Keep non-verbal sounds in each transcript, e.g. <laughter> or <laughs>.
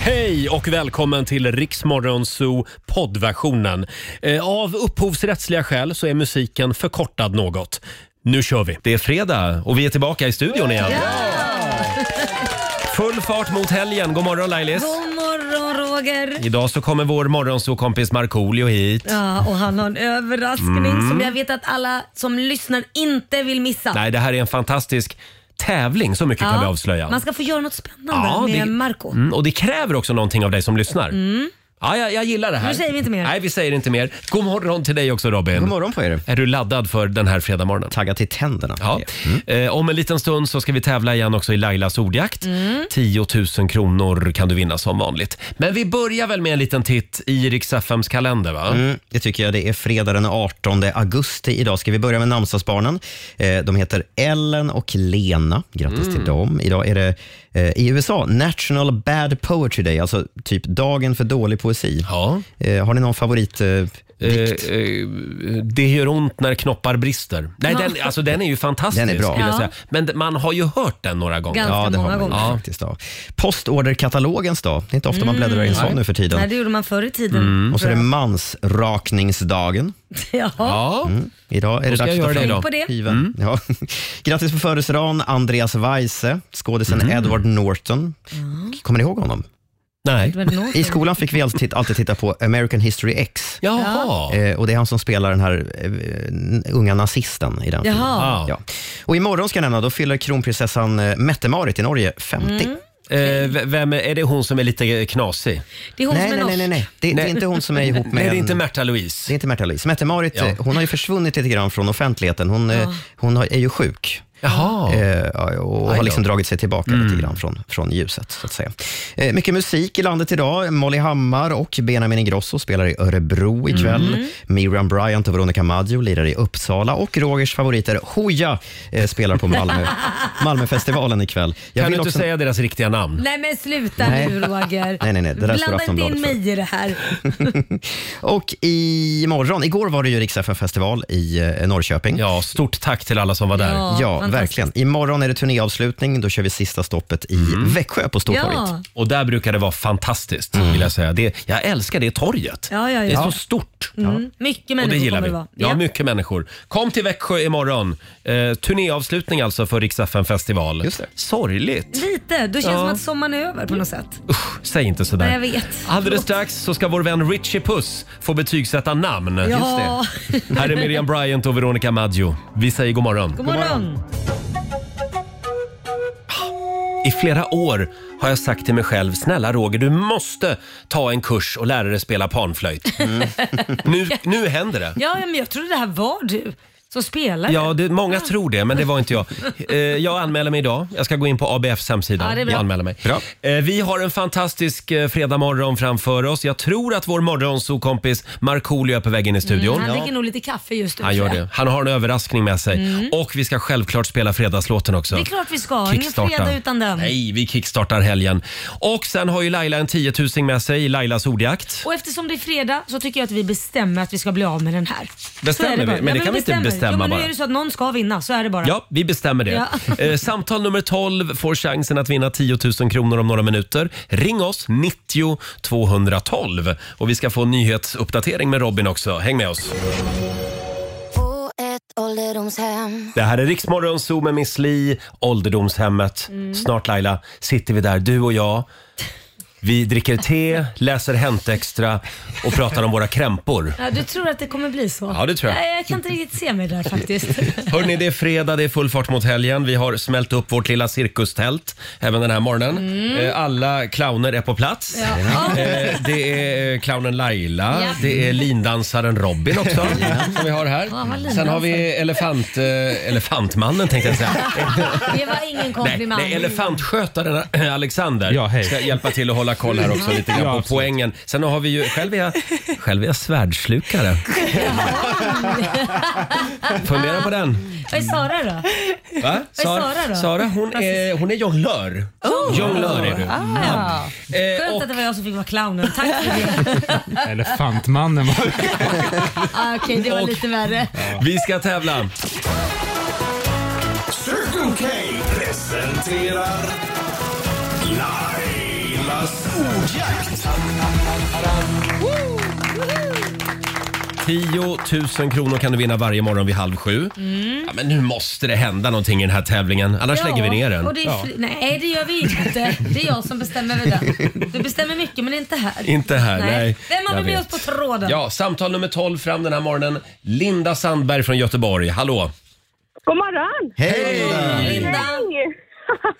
Hej och välkommen till Riksmorgonzoo poddversionen. Eh, Av upphovsrättsliga skäl så är musiken förkortad något. Nu kör vi! Det är fredag och vi är tillbaka i studion igen. Full fart mot helgen. God morgon Lailis! God morgon Roger! Idag så kommer vår morgonsokompis Markoolio hit. Ja, och han har en överraskning Mm. som jag vet att alla som lyssnar inte vill missa. Nej, det här är en fantastisk tävling. Så mycket kan Ja, vi avslöja. Man ska få göra något spännande Ja, med det- Marco. Mm, och det kräver också någonting av dig som lyssnar. Mm. Ja, jag, jag gillar det här. Nu säger vi inte mer. Nej, vi säger inte mer. God morgon till dig också Robin. God morgon på er. Är du laddad för den här fredagsmorgonen? Taggad till tänderna. Ja. Eh, om en liten stund så ska vi tävla igen också i Lailas ordjakt. 10 000 kronor kan du vinna som vanligt. Men vi börjar väl med en liten titt i Rix FMs kalender va? Mm, det tycker jag. Det är fredag den 18 augusti. Idag ska vi börja med namnsdagsbarnen. Eh, de heter Ellen och Lena. Grattis Mm. till dem. Idag är det eh, i USA National Bad Poetry Day, alltså typ dagen för dålig poesi. Eh, har ni någon favorit? Eh, dikt? eh, det gör ont när knoppar brister. Nej, Ja. den, alltså, den är ju fantastisk. Den är bra. Vill jag Ja. säga. Men d- man har ju hört den några gånger. Ganska Ja, det har många man ju gånger. faktiskt. Ja. Postorderkatalogens dag. Det är inte ofta man bläddrar i en sån nu för tiden. Mm, Nej, det gjorde man förr i tiden. Och så är tror det jag. mansrakningsdagen. <laughs> ja. Mm. Idag är Då Mm. det ska dags jag göra att det ta fram idag. Tänk på det. skivan. Ja. <laughs> Grattis på födelsedagen, Andreas Weise, skådisen Mm. Edward Norton. Kommer ni ihåg honom? Nej. Edward Norton. I skolan fick vi alltid, alltid titta på American History X. Jaha. Eh, och Det är han som spelar den här eh, n- unga nazisten i den Jaha. filmen. Ah. Ja. Och imorgon ska jag nämna, då fyller kronprinsessan eh, Mette-Marit i Norge 50. Mm. Eh, v- vem är, är det hon som är lite knasig? Det är hon nej, som är nej, nej, nej, nej. Det, det är inte hon som <laughs> är ihop med... Nej, det är en- inte Märta Louise. Det är inte Märta-Louise. Mette-Marit Ja. eh, hon har ju försvunnit lite grann från offentligheten. Hon, eh, Ja. hon har, är ju sjuk. Jaha. Eh, ja, och Aj då. har liksom dragit sig tillbaka Mm. lite grann från, från ljuset. Så att säga. Eh, mycket musik i landet idag. Molly Hammar och Benjamin Ingrosso spelar i Örebro ikväll. Mm. Miriam Bryant och Veronica Maggio lirar i Uppsala. Och Rogers favoriter Hooja eh, spelar på Malmö, <laughs> Malmöfestivalen ikväll. Kan du inte säga deras riktiga namn? Nej men sluta Nej. nu Roger. Nej, nej, nej. Det där står Blanda inte Aftonbladet in för. mig i det här. Och imorgon, igår var det ju riks festival i eh, Norrköping. Ja, stort tack till alla som var där. Ja, Ja, fantastiskt. verkligen. Imorgon är det turnéavslutning. Då kör vi sista stoppet i Mm. Växjö på Stortorget. Ja. Och där brukar det vara fantastiskt, vill jag säga. Det, jag älskar det torget. Ja, ja, ja. Det är så stort. Mm. Mycket Och det människor gillar vi. kommer det vara. Ja, mycket människor. Kom till Växjö imorgon. Eh, turnéavslutning alltså för Rix FM festival. Just det. Sorgligt. Lite, då känns det Ja. som att sommaren är över på något sätt. Säg inte sådär. Nej, jag vet. Alldeles strax så ska vår vän Richie Puss få betygsätta namn. Ja. Just det. Här är Miriam Bryant och Veronica Maggio. Vi säger god morgon. God morgon. I flera år har jag sagt till mig själv, snälla Roger, du måste ta en kurs och lära dig spela panflöjt. nu, nu händer det. Ja, ja, men jag trodde det här var du som spelare. Ja, det, många tror det, men det var inte jag. Eh, jag anmäler mig idag. Jag ska gå in på ABFs Ja, hemsida det är bra. och anmäla mig. Eh, vi har en fantastisk eh, fredagmorgon framför oss. Jag tror att vår morgonsokompis Markoolio är på väg in i studion. Mm, han dricker nog lite kaffe just nu. Han gör tror jag. det. Han har en överraskning med sig. Mm. Och vi ska självklart spela fredagslåten också. Det är klart vi ska. Ingen fredag utan den. Nej, vi kickstartar helgen. Och sen har ju Laila en tiotusing med sig i Lailas ordjakt. Och eftersom det är fredag så tycker jag att vi bestämmer att vi ska bli av med den här. Bestämmer Så är det bara. vi? Men det kan vi inte bestämmer. bestämma ja, men bara. Nu är det så att någon ska vinna, så är det bara. Ja, vi bestämmer det. Ja. <laughs> Eh, samtal nummer 12 får chansen att vinna 10 000 kronor om några minuter. Ring oss, 90 212. Och vi ska få en nyhetsuppdatering med Robin också. Häng med oss. På ett ålderdomshem Det här är Riksmorgon Zoo med Miss Li, ålderdomshemmet. Mm. Snart Laila sitter vi där, du och jag. Vi dricker te, läser Hänt Extra och pratar om våra krämpor. Ja, du tror att det kommer bli så? Ja, det tror jag. Nej, jag kan inte riktigt se mig där <laughs> faktiskt. Hörni, det är fredag, det är full fart mot helgen. Vi har smält upp vårt lilla cirkustält även den här morgonen. Mm. Eh, Alla clowner är på plats. Ja. Eh, Det är eh, clownen Laila, Ja. det är lindansaren Robin också. Som vi har här. Ja, vad Sen har vi elefant, eh, elefantmannen tänkte jag <laughs> säga. Det var ingen Nej, komplimang. nej, elefantskötaren eh, <clears throat> Alexander ska hjälpa till att hålla koll här också lite grann Ja, på absolut. poängen. Sen har vi ju, själv är jag, själv är jag svärdslukare. Fundera på den. Vad är Sara då? Va? Vad är Sara då? Sara hon, är, hon är jonglör. Jonglör är du. Ah. Eh, Skönt att det var jag som fick vara clownen. <laughs> Tack för det. Elefantmannen var Ah, Okej, det var Och- lite värre. Vi ska tävla. Circle K presenterar Laila Lukas ordjakt. 10 000 kronor kan du vinna varje morgon vid halv sju. Ja, men nu måste det hända någonting i den här tävlingen, annars Mm. Ja, lägger vi ner den. Och det är Ja. fl- Nej, det gör vi inte. Det är jag som bestämmer över den. Du bestämmer mycket men inte här. Inte här, nej. Vem har Jag vi med vet. oss på tråden? Ja, samtal nummer 12 fram den här morgonen. Linda Sandberg från Göteborg, hallå! God morgon! Hej! Linda!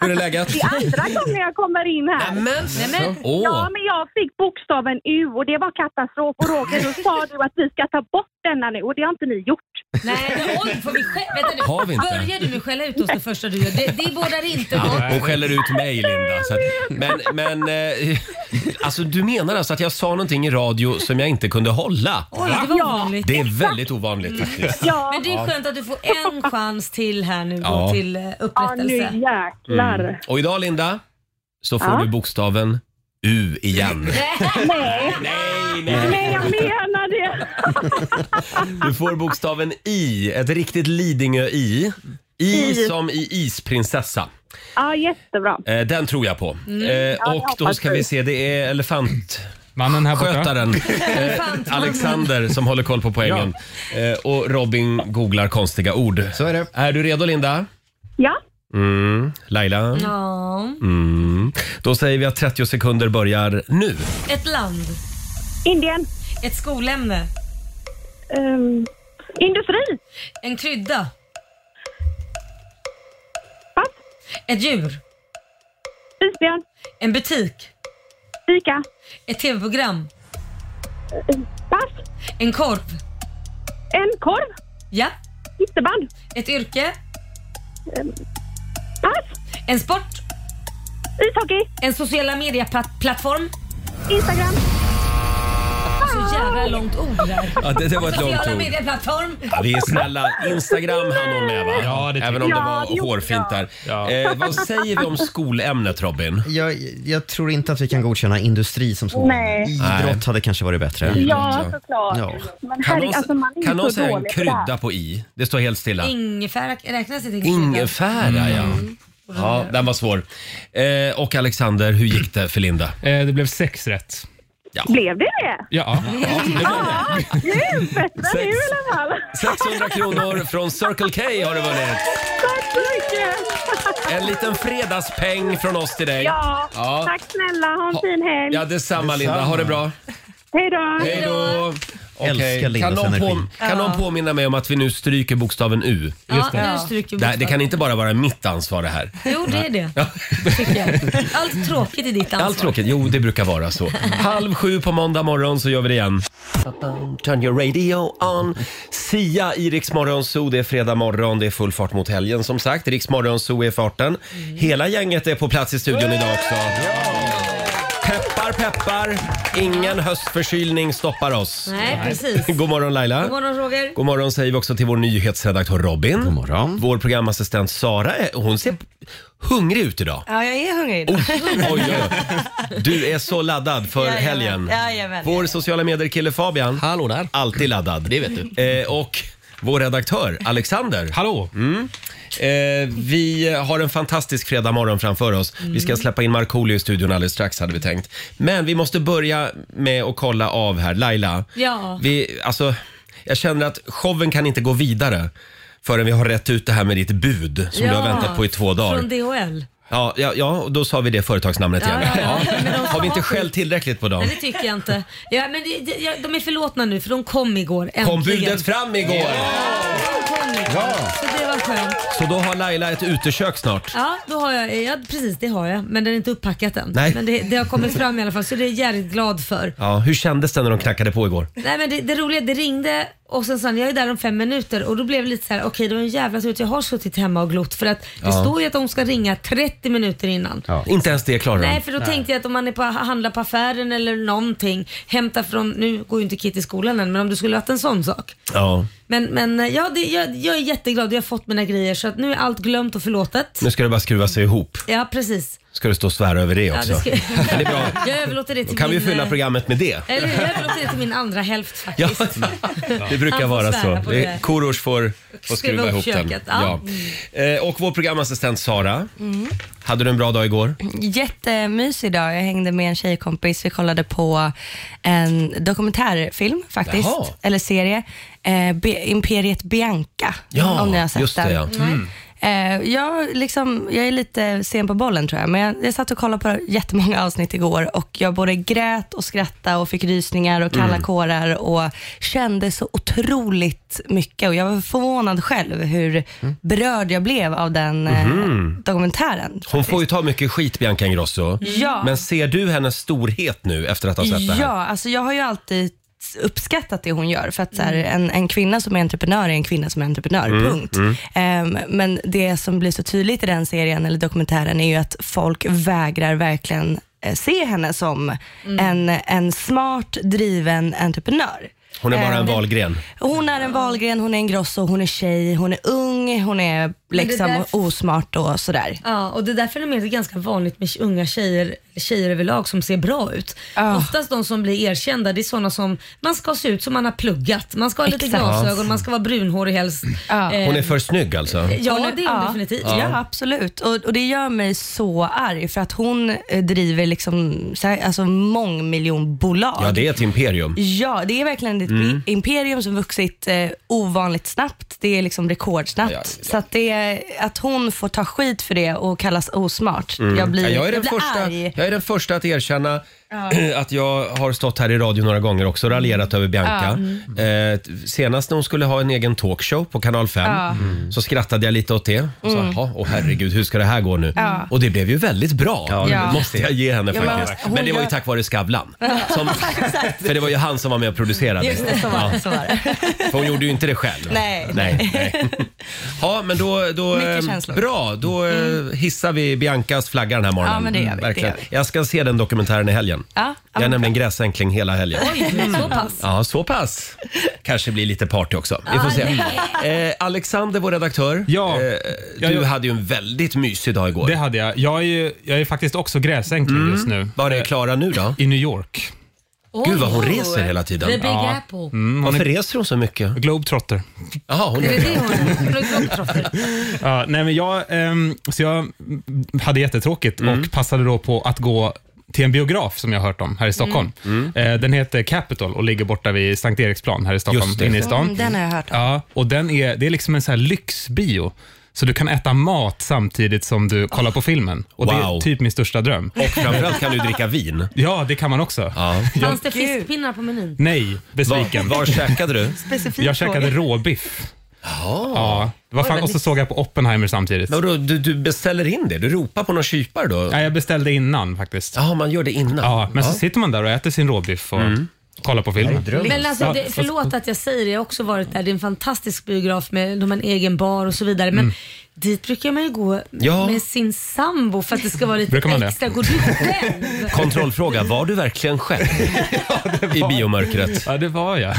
Hur är läget? Det är andra gången jag kommer in här. Nämen, Nämen. så. Åh. Ja, men jag fick bokstaven U och det var katastrof. Och Roger, då sa du att vi ska ta bort denna nu och det har inte ni gjort. Nej, men oj, får vi skä- vänta nu. Har vi inte? Börjar du med att skälla ut oss det första du gör? Det, det bådar inte gott. Ja, hon skäller ut mig, Linda. Så att, men men eh, alltså, du menar alltså att jag sa någonting i radio som jag inte kunde hålla? Oj, det var ovanligt. Det är väldigt ovanligt faktiskt. <laughs> Men det är skönt att du får en chans till här nu Ja. då, till eh, upprättelse. Ja, nu jäklar. Mm. Och idag, Linda, så får Ja. du bokstaven U igen. Nej. Nej, Nej, jag menar det. Du får bokstaven I, ett riktigt Lidingö-I. I I. som i isprinsessa. Ja, jättebra. Eh, Den tror jag på. Mm. Eh, Ja, det Och då hoppas ska vi. vi se, det är elefant... Mannen här borta. Skötaren. Elefantmannen. Alexander som håller koll på poängen. Eh, Och Robin googlar konstiga ord. Så är det. Är du redo Linda? Ja. Mm. Laila? Ja. Mm. Då säger vi att 30 sekunder börjar nu. Ett land. Indien. Ehm, Ett skolämne. industri. En krydda. Pass. Ett djur. Isbjörn. En butik. Ica. Ett tv-program. Pass. En korv. En korv. Ja. Ytterband. Ett yrke. Pass. En sport. Ishockey. En sociala medieplattform. Instagram. Så jävla långt ord där. Ja, det- det var ett långt Sociala ord. medieplattform. Ja, vi är snälla. Instagram hann hon med va? Ja, det Även om det jag. Ja, var det gjorde hårfint där. Eh, vad säger vi om skolämnet Robin? Jag, jag tror inte att vi kan godkänna industri som skola. Nej. Idrott hade kanske varit bättre. Ja, såklart. Ja. Men Kan herregud, någon, alltså man är kan ju någon så säga en dålig på det här. krydda på i? Det står helt stilla. Ingefära räknas inte. till Ingefära ja. Mm. Ja, den var svår. Eh, och Alexander, hur gick det för Linda? Eh, det blev sex rätt. Ja. Blev det det? Ja. Ja, nu festar nu i alla fall. 600 kronor från Circle K har du vunnit. Tack så mycket. En liten fredagspeng från oss till dig. Ja, Ja. tack snälla. Ha en fin helg. Ja, detsamma Linda. Ha det bra. Hej då. Hej då. Okej. Älskar Kan, Lindas någon energi. påm- kan någon Ja. påminna mig om att vi nu stryker bokstaven U? Ja, Just det. nu stryker vi det, det kan bokstaven. inte bara vara mitt ansvar det här. Jo, det är det. Ja. Tycker jag. Allt tråkigt är ditt ansvar. Allt tråkigt. Jo, det brukar vara <laughs> så. Halv sju på måndag morgon så gör vi det igen. Turn your radio on. Sia i Rix Morgon Zoo. Det är fredag morgon, det är full fart mot helgen som sagt. Rix Morgon Zoo är i farten. Mm. Hela gänget är på plats i studion idag också. Peppar, peppar. Ingen höstförkylning stoppar oss. Nej, precis. God morgon Laila. God morgon Roger. God morgon säger vi också till vår nyhetsredaktör Robin. God morgon. Vår programassistent Sara, är- hon ser hungrig ut idag. Ja, jag är hungrig Oh, idag. Oj, oj, oj. Du är så laddad för Jajamän. helgen. Jajamän. Vår sociala medier-kille Fabian. Hallå där. Alltid laddad. Det vet du. Eh, och vår redaktör Alexander. Hallå. Mm. Eh, vi har en fantastisk fredag morgon framför oss. Vi ska släppa in Markoolio i studion alldeles strax hade vi tänkt. Men vi måste börja med att kolla av här. Laila, Ja. vi, alltså, jag känner att showen kan inte gå vidare förrän vi har rätt ut det här med ditt bud som du har Ja. väntat på i två dagar. Från DHL. Ja, ja, ja, och då sa vi det företagsnamnet Ja, igen. ja, ja. Ja. Men de Har vi inte sa- skällt tillräckligt på dem? Nej, det tycker jag inte. Ja, men det, det, ja, de är förlåtna nu för de kom igår. Äntligen. Kom budet fram igår! De kom igår. Ja. Så det var skönt. Så då har Laila ett utekök snart. Ja, då har jag, ja, precis det har jag. Men den är inte upppackad än. Nej. Men det, det har kommit fram i alla fall så det är jag jävligt glad för. Ja, hur kändes det när de knackade på igår? Nej men det, det roliga, det ringde och sen sa han, jag är där om fem minuter och då blev det lite så här: okej det var en jävla tur att jag har suttit hemma och glott för att det Ja. står ju att de ska ringa 30 minuter innan. Inte ens det klarar de. Nej, för då tänkte jag att om man är på, handlar på affären eller någonting, hämta från, nu går ju inte Kitty i skolan än, men om du skulle ha haft en sån sak. Ja. Men, men ja, det, jag, jag är jätteglad och jag har fått mina grejer så att nu är allt glömt och förlåtet. Nu ska det bara skruva sig ihop. Ja, precis. Ska du stå och svära över det Ja, också? ska- Men det är bra. <laughs> Jag överlåter det till Då kan vi min, fylla eh, programmet med det. Eller hur? Jag överlåter det till min andra hälft <laughs> Ja, faktiskt. <laughs> det brukar Han får vara svära så. på Det- det. Korosh får, får Skruva skruva upp ihop den. köket, ja. Eh, Och vår programassistent Sara, Mm. hade du en bra dag igår? Jättemysig dag. Jag hängde med en tjejkompis. Vi kollade på en dokumentärfilm faktiskt, Jaha. eller serie. Eh, Be- Imperiet Bianca, Ja, om ni har sett just det, den. ja. Mm. Eh, jag, liksom, jag är lite sen på bollen tror jag, men jag, jag satt och kollade på jättemånga avsnitt igår och jag både grät och skrattade och fick rysningar och kalla Mm. kårar och kände så otroligt mycket och jag var förvånad själv hur berörd jag blev av den eh, Mm. Mhm. dokumentären. Hon får ju ta mycket skit, Bianca Ingrosso. Ja. Men ser du hennes storhet nu efter att ha sett det här? Ja, alltså jag har ju alltid uppskattat det hon gör. För att så här, en, en kvinna som är entreprenör är en kvinna som är entreprenör, Mm, punkt. mm. Ehm, men det som blir så tydligt i den serien eller dokumentären är ju att folk vägrar verkligen eh, se henne som Mm. en, en smart, driven entreprenör. Hon är bara Ehm, en valgren. Hon är en Wahlgren, hon är en Grosso, hon är tjej, hon är ung, hon är det liksom där- osmart och sådär. Ja, och det där fenomenet är ganska vanligt med unga tjejer, tjejer överlag som ser bra ut. Oftast de som blir erkända, det är sådana som, man ska se ut som man har pluggat, man ska ha lite Exakt. Ja. glasögon, man ska vara brunhårig helst. Eh, Hon är för snygg alltså? eh, Ja, det är hon definitivt. Ja, Ja. absolut. Och, och det gör mig så arg för att hon eh, driver liksom, så här, alltså mångmiljonbolag. Ja, det är ett imperium. Ja, det är verkligen ett Mm. imperium som vuxit eh, ovanligt snabbt. Det är liksom rekordsnabbt. Så att, det, är- att hon får ta skit för det och kallas osmart. Mm. Jag blir, Ja, jag, är jag den blir första, arg. jag är den första att erkänna <clears throat> att jag har stått här i radio några gånger också och raljerat över Ja. Bianca. Eh, t- senast när hon skulle ha en egen talkshow på kanal 5 Ja. Mm. så skrattade jag lite åt det. Och sa, Mm. "Jaha, åh herregud, hur ska det här gå nu? Ja. Och det blev ju väldigt bra, det Ja. blev det. måste jag ge henne Ja, men faktiskt. hon Men, det var ju gör- tack vare Skavlan. <laughs> Som, <laughs> Exakt. för det var ju han som var med och producerade. Just det, så var det. Så var det. För hon gjorde ju inte det själv. Nej. nej, nej. Ja, men då... då Mycket eh, känslor. Mm. bra, då eh, hissar vi Biancas flagga den här morgonen. Mm, Ja, men det gör vi, det Verkligen. gör Jag ska se den dokumentären i helgen. Ja, Jag är nämligen gräsänkling hela helgen. Oj, Mm. så pass. Ja, så pass. Kanske blir lite party också. Vi får se. Eh, Alexander, vår redaktör. Ja. Eh, du jag- hade ju en väldigt mysig dag igår. Det hade jag. Jag är, ju, jag är faktiskt också gräsänkling Mm. just nu. Eh, Var är Klara nu då? I New York. Oj. Gud, vad hon reser hela tiden. The Big Apple. Varför reser hon så mycket? Globetrotter. Jaha, hon Är det det hon är? Ja, nej, men jag, ehm, så jag hade jättetråkigt Mm. och passade då på att gå till en biograf som jag har hört om här Mm. i Stockholm. Eh, Den heter Capital och ligger borta vid Sankt Eriksplan här i Stockholm, Just det. inne i stan. Mm, den har jag hört om. Ja, och den är, det är liksom en så här lyxbio. Så du kan äta mat samtidigt som du kollar på filmen. Och Det är Wow. typ min största dröm. Och framförallt kan du dricka vin. Ja, det kan man också. Jag, Fanns det fiskpinnar på menyn? nej, besviken. Var, var käkade du? Specifikt Jag käkade fråga. råbiff. Ja, det var fan, och så såg jag på Oppenheimer samtidigt. Men då, du, du beställer in det? Du ropar på någon kypare då? Nej, jag beställde innan faktiskt. Ja, man gör det innan. Ja, men Ja. så sitter man där och äter sin råbiff och kollar på filmen. Men alltså, Ja, det, fast- förlåt att jag säger det, jag har också varit där. Det är en fantastisk biograf med de har en egen bar och så vidare. Men dit brukar man ju gå Ja. med sin sambo för att det ska vara lite Brukar man det? extra. Går du själv? Kontrollfråga, var du verkligen själv i biomörkret? Ja, det var jag.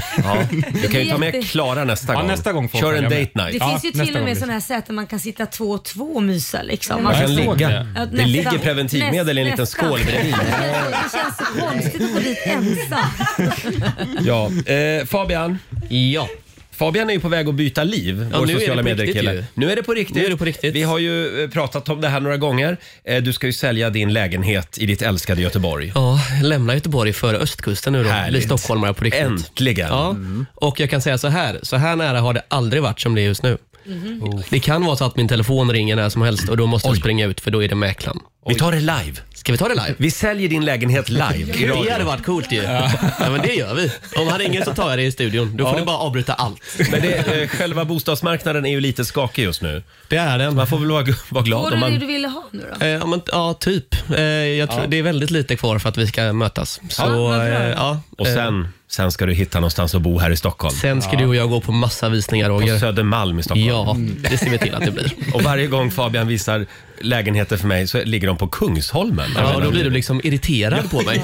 Du kan ju ta med Jätte- Klara nästa Ja, gång. nästa gång får Kör jag en följa date med. night. Det finns ju till och med sådana här säten man kan sitta två och två och mysa. Liksom. Man kan Ja, ligga. nästan. Det ligger preventivmedel i en liten Nästan. skål bredvid. <laughs> Det känns så konstigt att gå dit ensam. Ja. Eh, Fabian. Ja. Fabian är ju på väg att byta liv, Ja, vår nu är det sociala på medier-kille. riktigt ju. Nu är det på riktigt. Nu är det på riktigt. Vi har ju eh, pratat om det här några gånger. Eh, Du ska ju sälja din lägenhet i ditt älskade Göteborg. Ja, lämna Göteborg för östkusten nu då. Härligt. Mm. Bli stockholmare på riktigt. Äntligen. Ja. Och jag kan säga så här, så här nära har det aldrig varit som det är just nu. Mm-hmm. Oh. Det kan vara så att min telefon ringer när som helst och då måste jag springa ut för då är det mäklaren. Vi tar det live. Ska vi ta det live? Vi säljer din lägenhet live i radio. Det hade varit coolt ju. Ja. men det gör vi. Om han ringer så tar jag det i studion. Då får Ja. ni bara avbryta allt. Men det, eh, själva bostadsmarknaden är ju lite skakig just nu. Det är den. Man får väl vara, vara Var glad det om det man... du ville ha nu då? Eh, ja, men, ja, typ. Eh, jag tror, Ja. Det är väldigt lite kvar för att vi ska mötas. Så, Ja, vad bra. eh, ja, Och eh, sen, sen ska du hitta någonstans att bo här i Stockholm. sen ska du och jag gå på massa visningar, På Roger. Södermalm i Stockholm. Ja, det ser vi till att det blir. Och varje gång Fabian visar lägenheter för mig så ligger de på Kungsholmen. Ja, då blir du liksom irriterad på mig.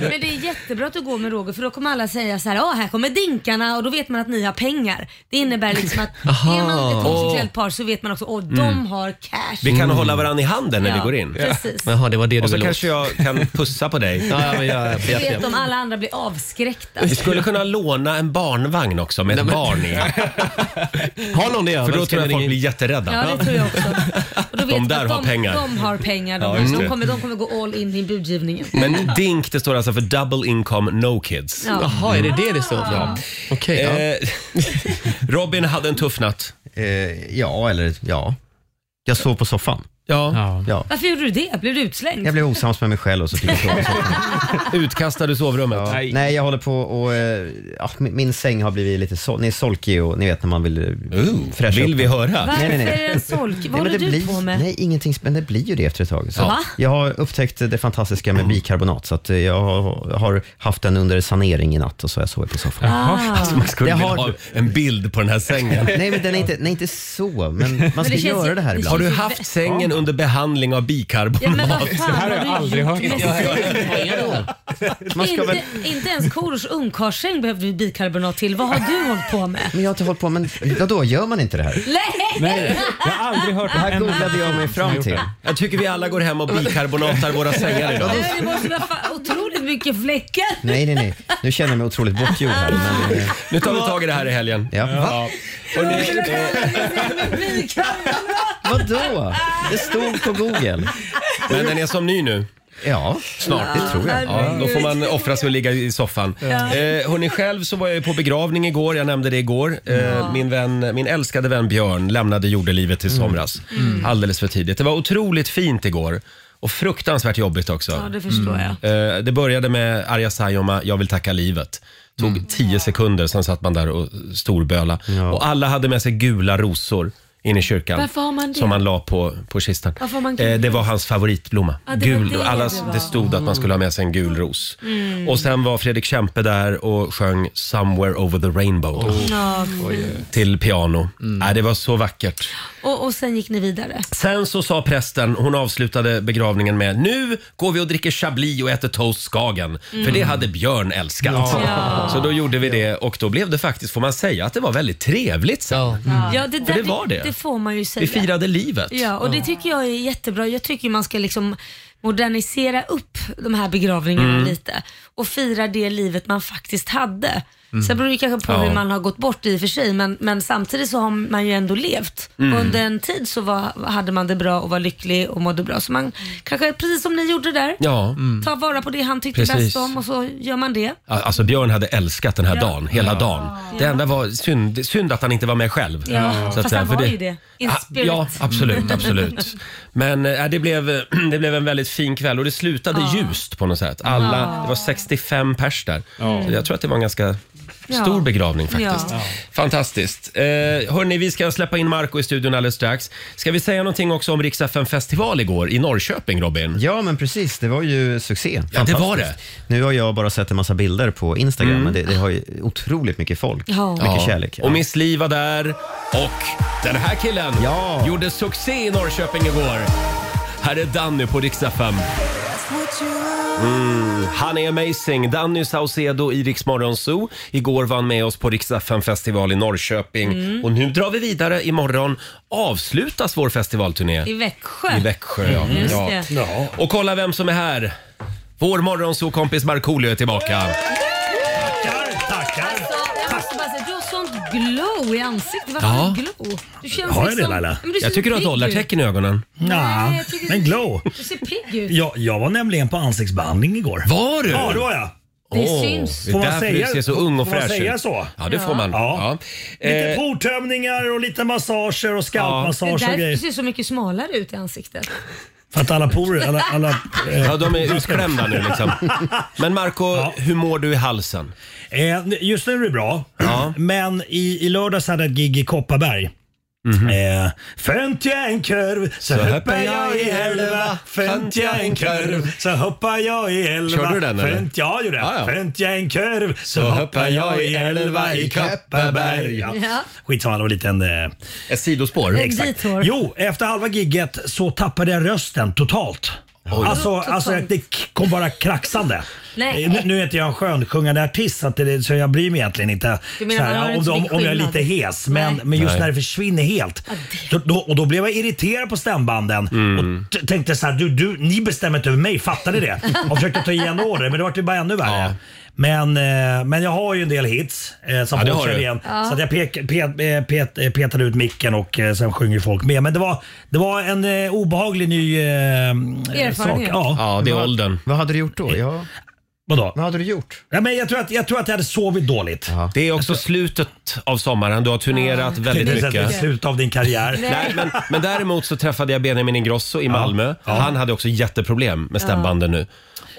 Men det är jättebra att du går med Roger för då kommer alla säga så här, "Ah, här kommer dinkarna och då vet man att ni har pengar. Det innebär liksom att är man <laughs> ett Aha. homosexuellt par så vet man också att de Mm. har cash. Vi kan hålla varandra i handen när Ja, vi går in. precis. Jaha, det var det Och du så ville åt. kanske jag kan pussa på dig. Ja, ja, men jag- jag Du vet om alla andra blir avskräckta. Vi skulle kunna låna en barnvagn också med ett barn i. Har någon det För då över? tror jag folk blir jätterädda. Ja, det tror jag också. <laughs> Och då vet De man där att har de, pengar. De har pengar. De, Ja, här. just det. de, kommer, de kommer gå all in i budgivningen. Men DINK, det står alltså för Double Income No Kids. Ja. Jaha, är det det det står för? Ja. Okej, ja. Eh, <laughs> Robin hade en tuff natt. Eh, ja, eller ja. Jag sov på soffan. Ja. ja. Varför gjorde du det? Blev du utslängd? Jag blev osams med mig själv och så fick jag sova. <laughs> Utkastade du sovrummet? Ja. Nej. Nej. jag håller på och... eh, Ja, min min säng har blivit lite sol- ni är solkig och ni vet när man vill eh, fräscha vill upp. vi höra? Varför är den solkig? Vad Nej, men håller det du blir, på med? Nej, ingenting. Men det blir ju det efter ett tag. Så Ja. Va? Jag har upptäckt det fantastiska med bikarbonat, så att eh, jag har- har haft den under sanering i natt och så har jag sovit på soffan. Ah. Alltså, man skulle Det vilja har- ha en bild på den här sängen. Nej, men den <laughs> är inte, den är inte så, men man ska det känns ju- göra det här det ibland. Har du ju haft vä- sängen under behandling av Ja, men vad bikarbonat? fan har du gjort med <laughs> Man ska inte, väl- inte ens Korosh ungkarlssäng behövde vi bikarbonat till. Vad har du hållit <laughs> på med? Men jag har inte hållit på, men då gör man inte det här? Nej! Jag har aldrig hört Det här googlade jag mig fram till. Jag tycker vi alla går hem och bikarbonatar våra sängar idag. Det måste vara fan otroligt mycket fläckar. <laughs> Nej, nej, nej. Nu känner jag mig otroligt bortgjord här. Men, eh, Nu tar vi tag i det här i helgen. ja. Va? Vadå? Det stod på Google. Men den är som ny nu. Ja, Snart. det tror jag. Ja, då får man offra sig och ligga i soffan. Ja. Eh, hörni, själv så var jag ju på begravning igår. Jag nämnde det igår. Eh, min, vän, min älskade vän Björn lämnade jordelivet i somras. Alldeles för tidigt. Det var otroligt fint igår. Och fruktansvärt jobbigt också. Ja, det förstår jag. Eh, Det började med Arja Saijonmaa, Jag vill tacka livet. Mm. Tog 10 sekunder, sen satt man där och storböla. Och alla hade med sig gula rosor in i kyrkan. Varför har man det? Som man la på, på kistan. Varför har man gul? Eh, det var hans favoritblomma. Ja, det var gul, det alla, det var. Mm. det stod att man skulle ha med sig en gul ros. Och sen var Fredrik Kempe där och sjöng “Somewhere over the rainbow” Ja. till piano. Mm. Nej, det var så vackert. Och, och sen gick ni vidare. Sen så sa prästen, hon avslutade begravningen med “Nu går vi och dricker chablis och äter toast Skagen, för det hade Björn älskat”. Ja. Så då gjorde vi det och då blev det faktiskt, får man säga, att det var väldigt trevligt sen. Ja. Ja, det, där, det var det. Det får man ju säga. Vi firade livet. Mm. Ja, och det tycker jag är jättebra. Jag tycker man ska liksom modernisera upp de här begravningarna Mm. lite och fira det livet man faktiskt hade. Sen beror det kanske på Mm. Ja. hur man har gått bort i och för sig, men, men samtidigt så har man ju ändå levt. Mm. Och under en tid så var, hade man det bra och var lycklig och mådde bra. Så man kanske, precis som ni gjorde där, Ja. Mm. ta vara på det han tyckte Precis. bäst om och så gör man det. Alltså Björn hade älskat den här Ja. dagen, hela dagen. Det enda var synd, synd att han inte var med själv. Ja, fast säga, han för var ju det. In Ah, spirit. Ja, absolut, <laughs> absolut. Men eh, <clears throat> det, blev, det blev en väldigt fin kväll och det slutade ljust på något sätt. Alla, Det var 65 pers där. Så jag tror att det var en ganska stor Ja. begravning faktiskt. Ja. Fantastiskt. Eh, hörni, vi ska släppa in Marco i studion alldeles strax. Ska vi säga någonting också om Rix FM festival igår i Norrköping, Robin? Ja, men precis. Det var ju succé. Ja, det var Fantastiskt. Nu har jag bara sett en massa bilder på Instagram, men det, det har ju otroligt mycket folk. Ja. Mycket kärlek. Och Miss Li var där. Och den här killen Ja. gjorde succé i Norrköping igår. Här är Danny på Rix FM. Mm, han är amazing. Danny Saucedo i Rix Morgon Zoo. Igår var han med oss på Rix FM festival i Norrköping. Mm. Och nu drar vi vidare. Imorgon avslutas vår festivalturné I i, Växjö. Mm, Växjö. Ja. Just Ja. det. Och kolla vem som är här. Vår morgonsokompis Markoolio är tillbaka. Alltså, jag måste bara säga, du har sånt glow i ansiktet. Varför Ja. har du glow? Du känns Har jag det, liksom, Laila? Men du ser Jag tycker du har pigg ut. dollartecken i ögonen. Nja, Nej, jag tycker- men glow. Du ser pigg ut. Ja, jag var nämligen på ansiktsbehandling igår. Var du? Ja, det var jag. Det Åh, syns. Det är Får man därför säga- du ser så ung och får man fräsch säga ut. så? Ja, det får man. Ja. Ja. Lite Eh, portömningar och lite massager och Det är scoutmassage och därför du grejer. ser så mycket smalare ut i ansiktet. För att alla porer, alla... alla eh, ja, de är utklämda nu liksom. Men Marco, hur mår du i halsen? Eh, just nu är det bra, men i, i lördags hade jag ett gig i Mhm. Kopparberg. Eh, Fönt jag en kurv så hoppar jag i helva. Fänt jag en kurv så hoppar jag i elva. Körde du den, eller? Fänt, jag gjorde det. Ja, ja. Fänt jag en kurv så hoppar jag i elva i Kopparberg. Ja. Ja. Skitsamma, det var en liten... Eh... Ett sidospår. Ett Exakt. detour. Jo, efter halva gigget så tappade jag rösten totalt. Alltså, Totalt. alltså det kom bara kraxande. Nej. Eh, Nu, nu är inte jag en skönsjungande artist så, att det, så jag bryr mig egentligen inte Du menar, så här, man hör om, inte så om, mycket om jag är skillnad? lite hes. Men, Nej. men just Nej. när det försvinner helt. Då, då, och då blev jag irriterad på stämbanden Mm. och t- tänkte så här, du, du, ni bestämmer inte över mig, fattar <laughs> ni det? Jag försökte ta igen order men det vart ju bara ännu värre. Men, eh, men jag har ju en del hits eh, som Ja, det folk har känner du. igen. Ja. Så att jag pek, pet, eh, pet, eh, petade ut micken och eh, sen sjunger folk med. Men det var, det var en eh, obehaglig ny eh, eh, sak. Ja. Ja, det är åldern. Vad hade du gjort då? Ja, Vadå? vad hade du gjort? Ja, men jag, tror att, jag tror att jag hade sovit dåligt. Det är också slutet av sommaren. Du har turnerat Det väldigt är så att det är mycket. slutet av din karriär. Nej, men, men däremot så träffade jag Benjamin Ingrosso i Malmö. Han hade också jätteproblem med stämbanden nu.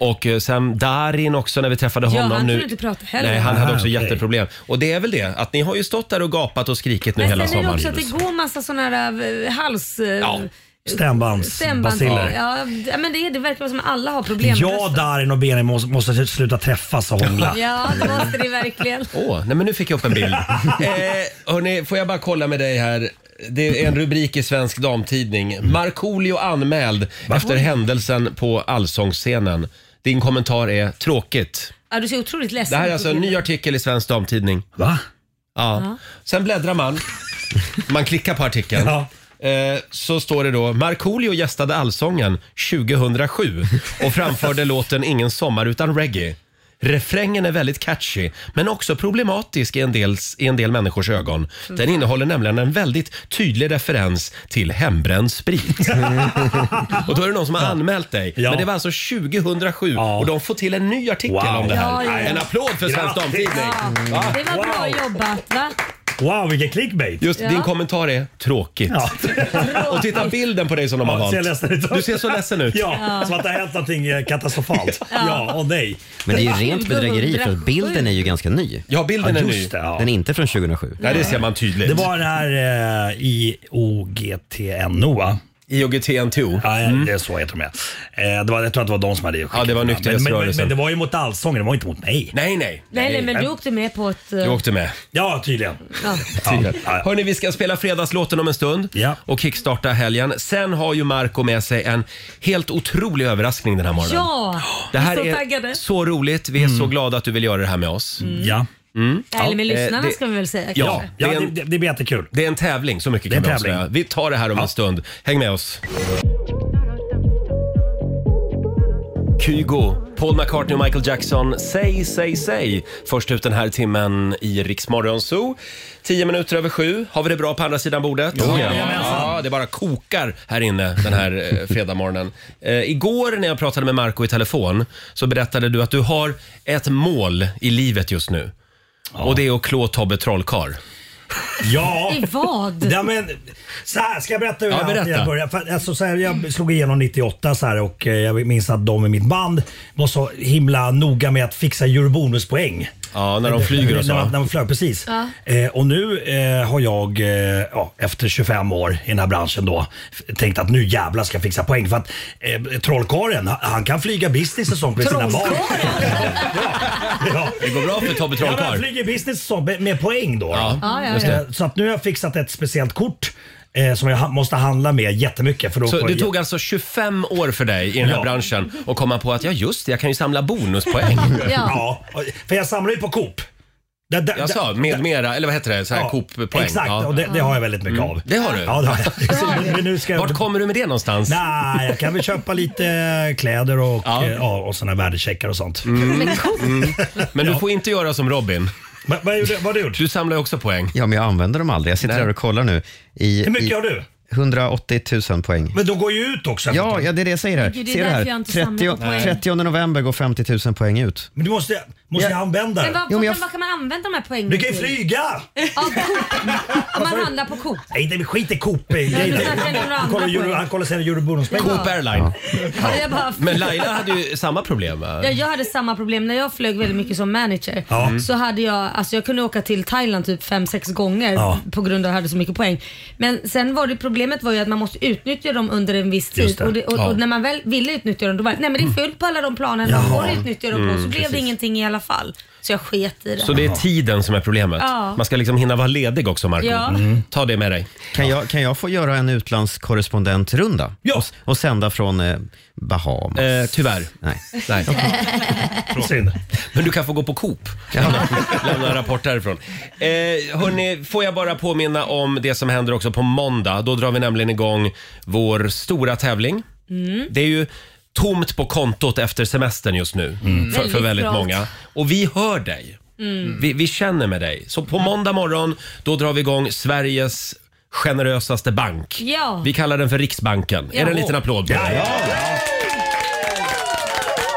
Och eh, sen Darin också när vi träffade Ja, honom han nu. kunde inte prata heller. Nej, han Ah, hade också okej. jätteproblem. Och det är väl det, att ni har ju stått där och gapat och skrikit nu Men hela sen är det sommaren. också att det går massa sådana här eh, hals... eh, Stämbands- baciller. Ja, d- men det, är- det verkar som att alla har problem med Jag, rösten. Darin och Benjamin måste, måste sluta träffas och hångla. Ja, det måste det verkligen. Åh, nej men nu fick jag upp en <laughs> bild. eh, hörni, får jag bara kolla med dig här. Det är en rubrik i Svensk Damtidning. Mm. Markoolio anmäld efter händelsen på Allsångsscenen. Din kommentar är tråkigt. Ja, du ser otroligt ledsen Det här är ut alltså på en ny bilden. artikel i Svensk Damtidning. Va? Ja. Sen bläddrar man. Man klickar på artikeln. Ja. Eh, Så står det då, Markoolio gästade Allsången 2007 och framförde låten Ingen sommar utan reggae. Refrängen är väldigt catchy, men också problematisk i en, del, i en del människors ögon. Den innehåller nämligen en väldigt tydlig referens till hembränd <laughs> sprit. och då är det någon som har anmält dig. Ja. Men det var alltså 2007 Ja. och de får till en ny artikel Wow. om det här. Ja, ja. En applåd för Svensk Grattis. Damtidning! Ja, det var bra Wow. jobbat va? Wow, vilken clickbait. Just Ja. din kommentar är tråkigt. Ja. <laughs> Och titta bilden på dig som de har Ja, ser jag valt. ledsen ut? Du ser så ledsen ut. <laughs> Ja, som att det har hänt någonting eh, katastrofalt. Ja, och nej. Men det är ju rent bedrägeri för att bilden är ju ganska ny. Ja, bilden är ny. Just det, ja. Den är inte från 2007. Ja, det ser man tydligt. Det var den här eh, IOGTNO va? IOGT-NTO. Ja, det är så heter de ja. Eh, det var, Jag tror att det var de som hade skickat Ja, det var den. men, men, men, nykterhetsrörelsen. men det var ju mot allsången, det var inte mot mig. Nej, nej. Nej, nej, men du åkte med på ett... eh, Du åkte med. Ja, tydligen. Ja. Ja, ja, ja. Hörni, vi ska spela fredagslåten om en stund Ja. och kickstarta helgen. Sen har ju Marco med sig en helt otrolig överraskning den här morgonen. ja. Det här så är taggade. så roligt. Vi är så Mm. glada att du vill göra det här med oss. Ja, Eller med Ja, eh, lyssnarna det- ska vi väl säga. Ja, kanske. det är Mm. ja en, det, det blir jättekul. det är en tävling, så mycket Det är kan en vi tävling. avslöja. Vi tar det här om en stund. Häng med oss. Kygo, Paul McCartney och Michael Jackson. Säg, säg, säg. Först ut den här timmen i Riksmorgon Zoo. Tio minuter över sju. Har vi det bra på andra sidan bordet? ja. ja, det bara kokar här inne den här eh, fredagmorgonen. Eh, igår när jag pratade med Marco i telefon så berättade du att du har ett mål i livet just nu. Och det är att klå Tobbe Trollkarl. Ja. I vad? Ja, men, så här, ska jag berätta hur Ja, jag- berätta. jag började? För, alltså, så här, jag slog igenom 98 så här, och eh, jag minns att de i mitt band var så himla noga med att fixa eurobonuspoäng. Ja, när de flyger och så. När, man- när man flög, precis. Eh, och nu eh, har jag, eh, ja, efter 25 år i den här branschen då, f- tänkt att nu jävlar ska jag fixa poäng. För att eh, trollkarlen, han- han kan flyga business och sånt med sina barn. <laughs> ja, Det går bra för Tobbe ja. Han Trollkarl. flyger business och sånt med, med poäng då. då. Ja, ja, just ja. det. Eh, Så att nu har jag fixat ett speciellt kort eh, som jag ha- måste handla med jättemycket. För då Så får det jag- tog alltså 25 år för dig i den här Ja. branschen och komma på att ja just det, jag kan ju samla <laughs> bonuspoäng. Ja. Ja, och- för jag samlar ju på Coop. Där- där- Jag sa där- med mera, eller vad heter det, så här Ja, Coop-poäng. Mm. Exakt, och det, det har jag väldigt mycket av. Det har du? Ja, det har <laughs> jag. Men nu ska jag... Vart kommer du med det någonstans? Nej, jag kan väl köpa lite kläder och, eh, Ja. Mm. ja. och såna värdecheckar och sånt. Men du får inte göra som Robin. Men, vad, gjorde, vad har du gjort? Du samlar ju också poäng. Ja, men jag använder dem aldrig. Jag sitter Nej. här och kollar nu. I, Hur mycket i har du? 180 000 poäng. Men de går ju ut också. Ja, ja, det är det jag säger här. Gud, det är Ser du därför här? jag inte samlar på poäng. 30, 30 november går 50 000 poäng ut. Men du måste, måste jag använda Men det. vad, Jo, men jag- vad, vad kan man använda de här poängen Du kan ju till? <laughs> flyga! Ja, Coop. Om man handlar på Coop. Nej, det- skit i Coop. men grejen. där kan du nog Han kollar andra euro- poäng. Han kollar sen eurobonuspengar. Coop Airline. Ja. Jag, bara, Men Laila hade ju samma problem va? jag, jag hade samma problem när jag flög väldigt mycket som manager. Ja. Så hade jag, alltså jag kunde åka till Thailand typ 5-6 gånger Ja. på grund av att jag hade så mycket poäng. Men sen var det problem problemet var ju att man måste utnyttja dem under en viss Just tid. det. Och, det, och, Ja. och när man väl ville utnyttja dem, då var det, nej men det är fullt på alla de planen man Jaha. får utnyttja dem på. Så Mm, blev det precis. ingenting i alla fall. Så jag sket i det. Så det är tiden som är problemet. Ja. Man ska liksom hinna vara ledig också, Marco. Ja. Mm. Ta det med dig. Kan jag, kan jag få göra en utlandskorrespondentrunda? Ja. Och, och sända från eh, Bahamas? Eh. tyvärr. Nej. Nej. Synd. Men du kan få gå på Coop. Lämna en rapport därifrån. Eh, hörni, får jag bara påminna om det som händer också på måndag. Då drar vi nämligen igång vår stora tävling. Mm. Det är ju tomt på kontot efter semestern just nu Mm. för, för Väldigt väldigt trångt. många. Och vi hör dig. Mm. Vi, vi känner med dig. Så på måndag morgon, då drar vi igång Sveriges generösaste bank. Ja. Vi kallar den för Riksbanken. Är det en Ja. liten applåd? på det?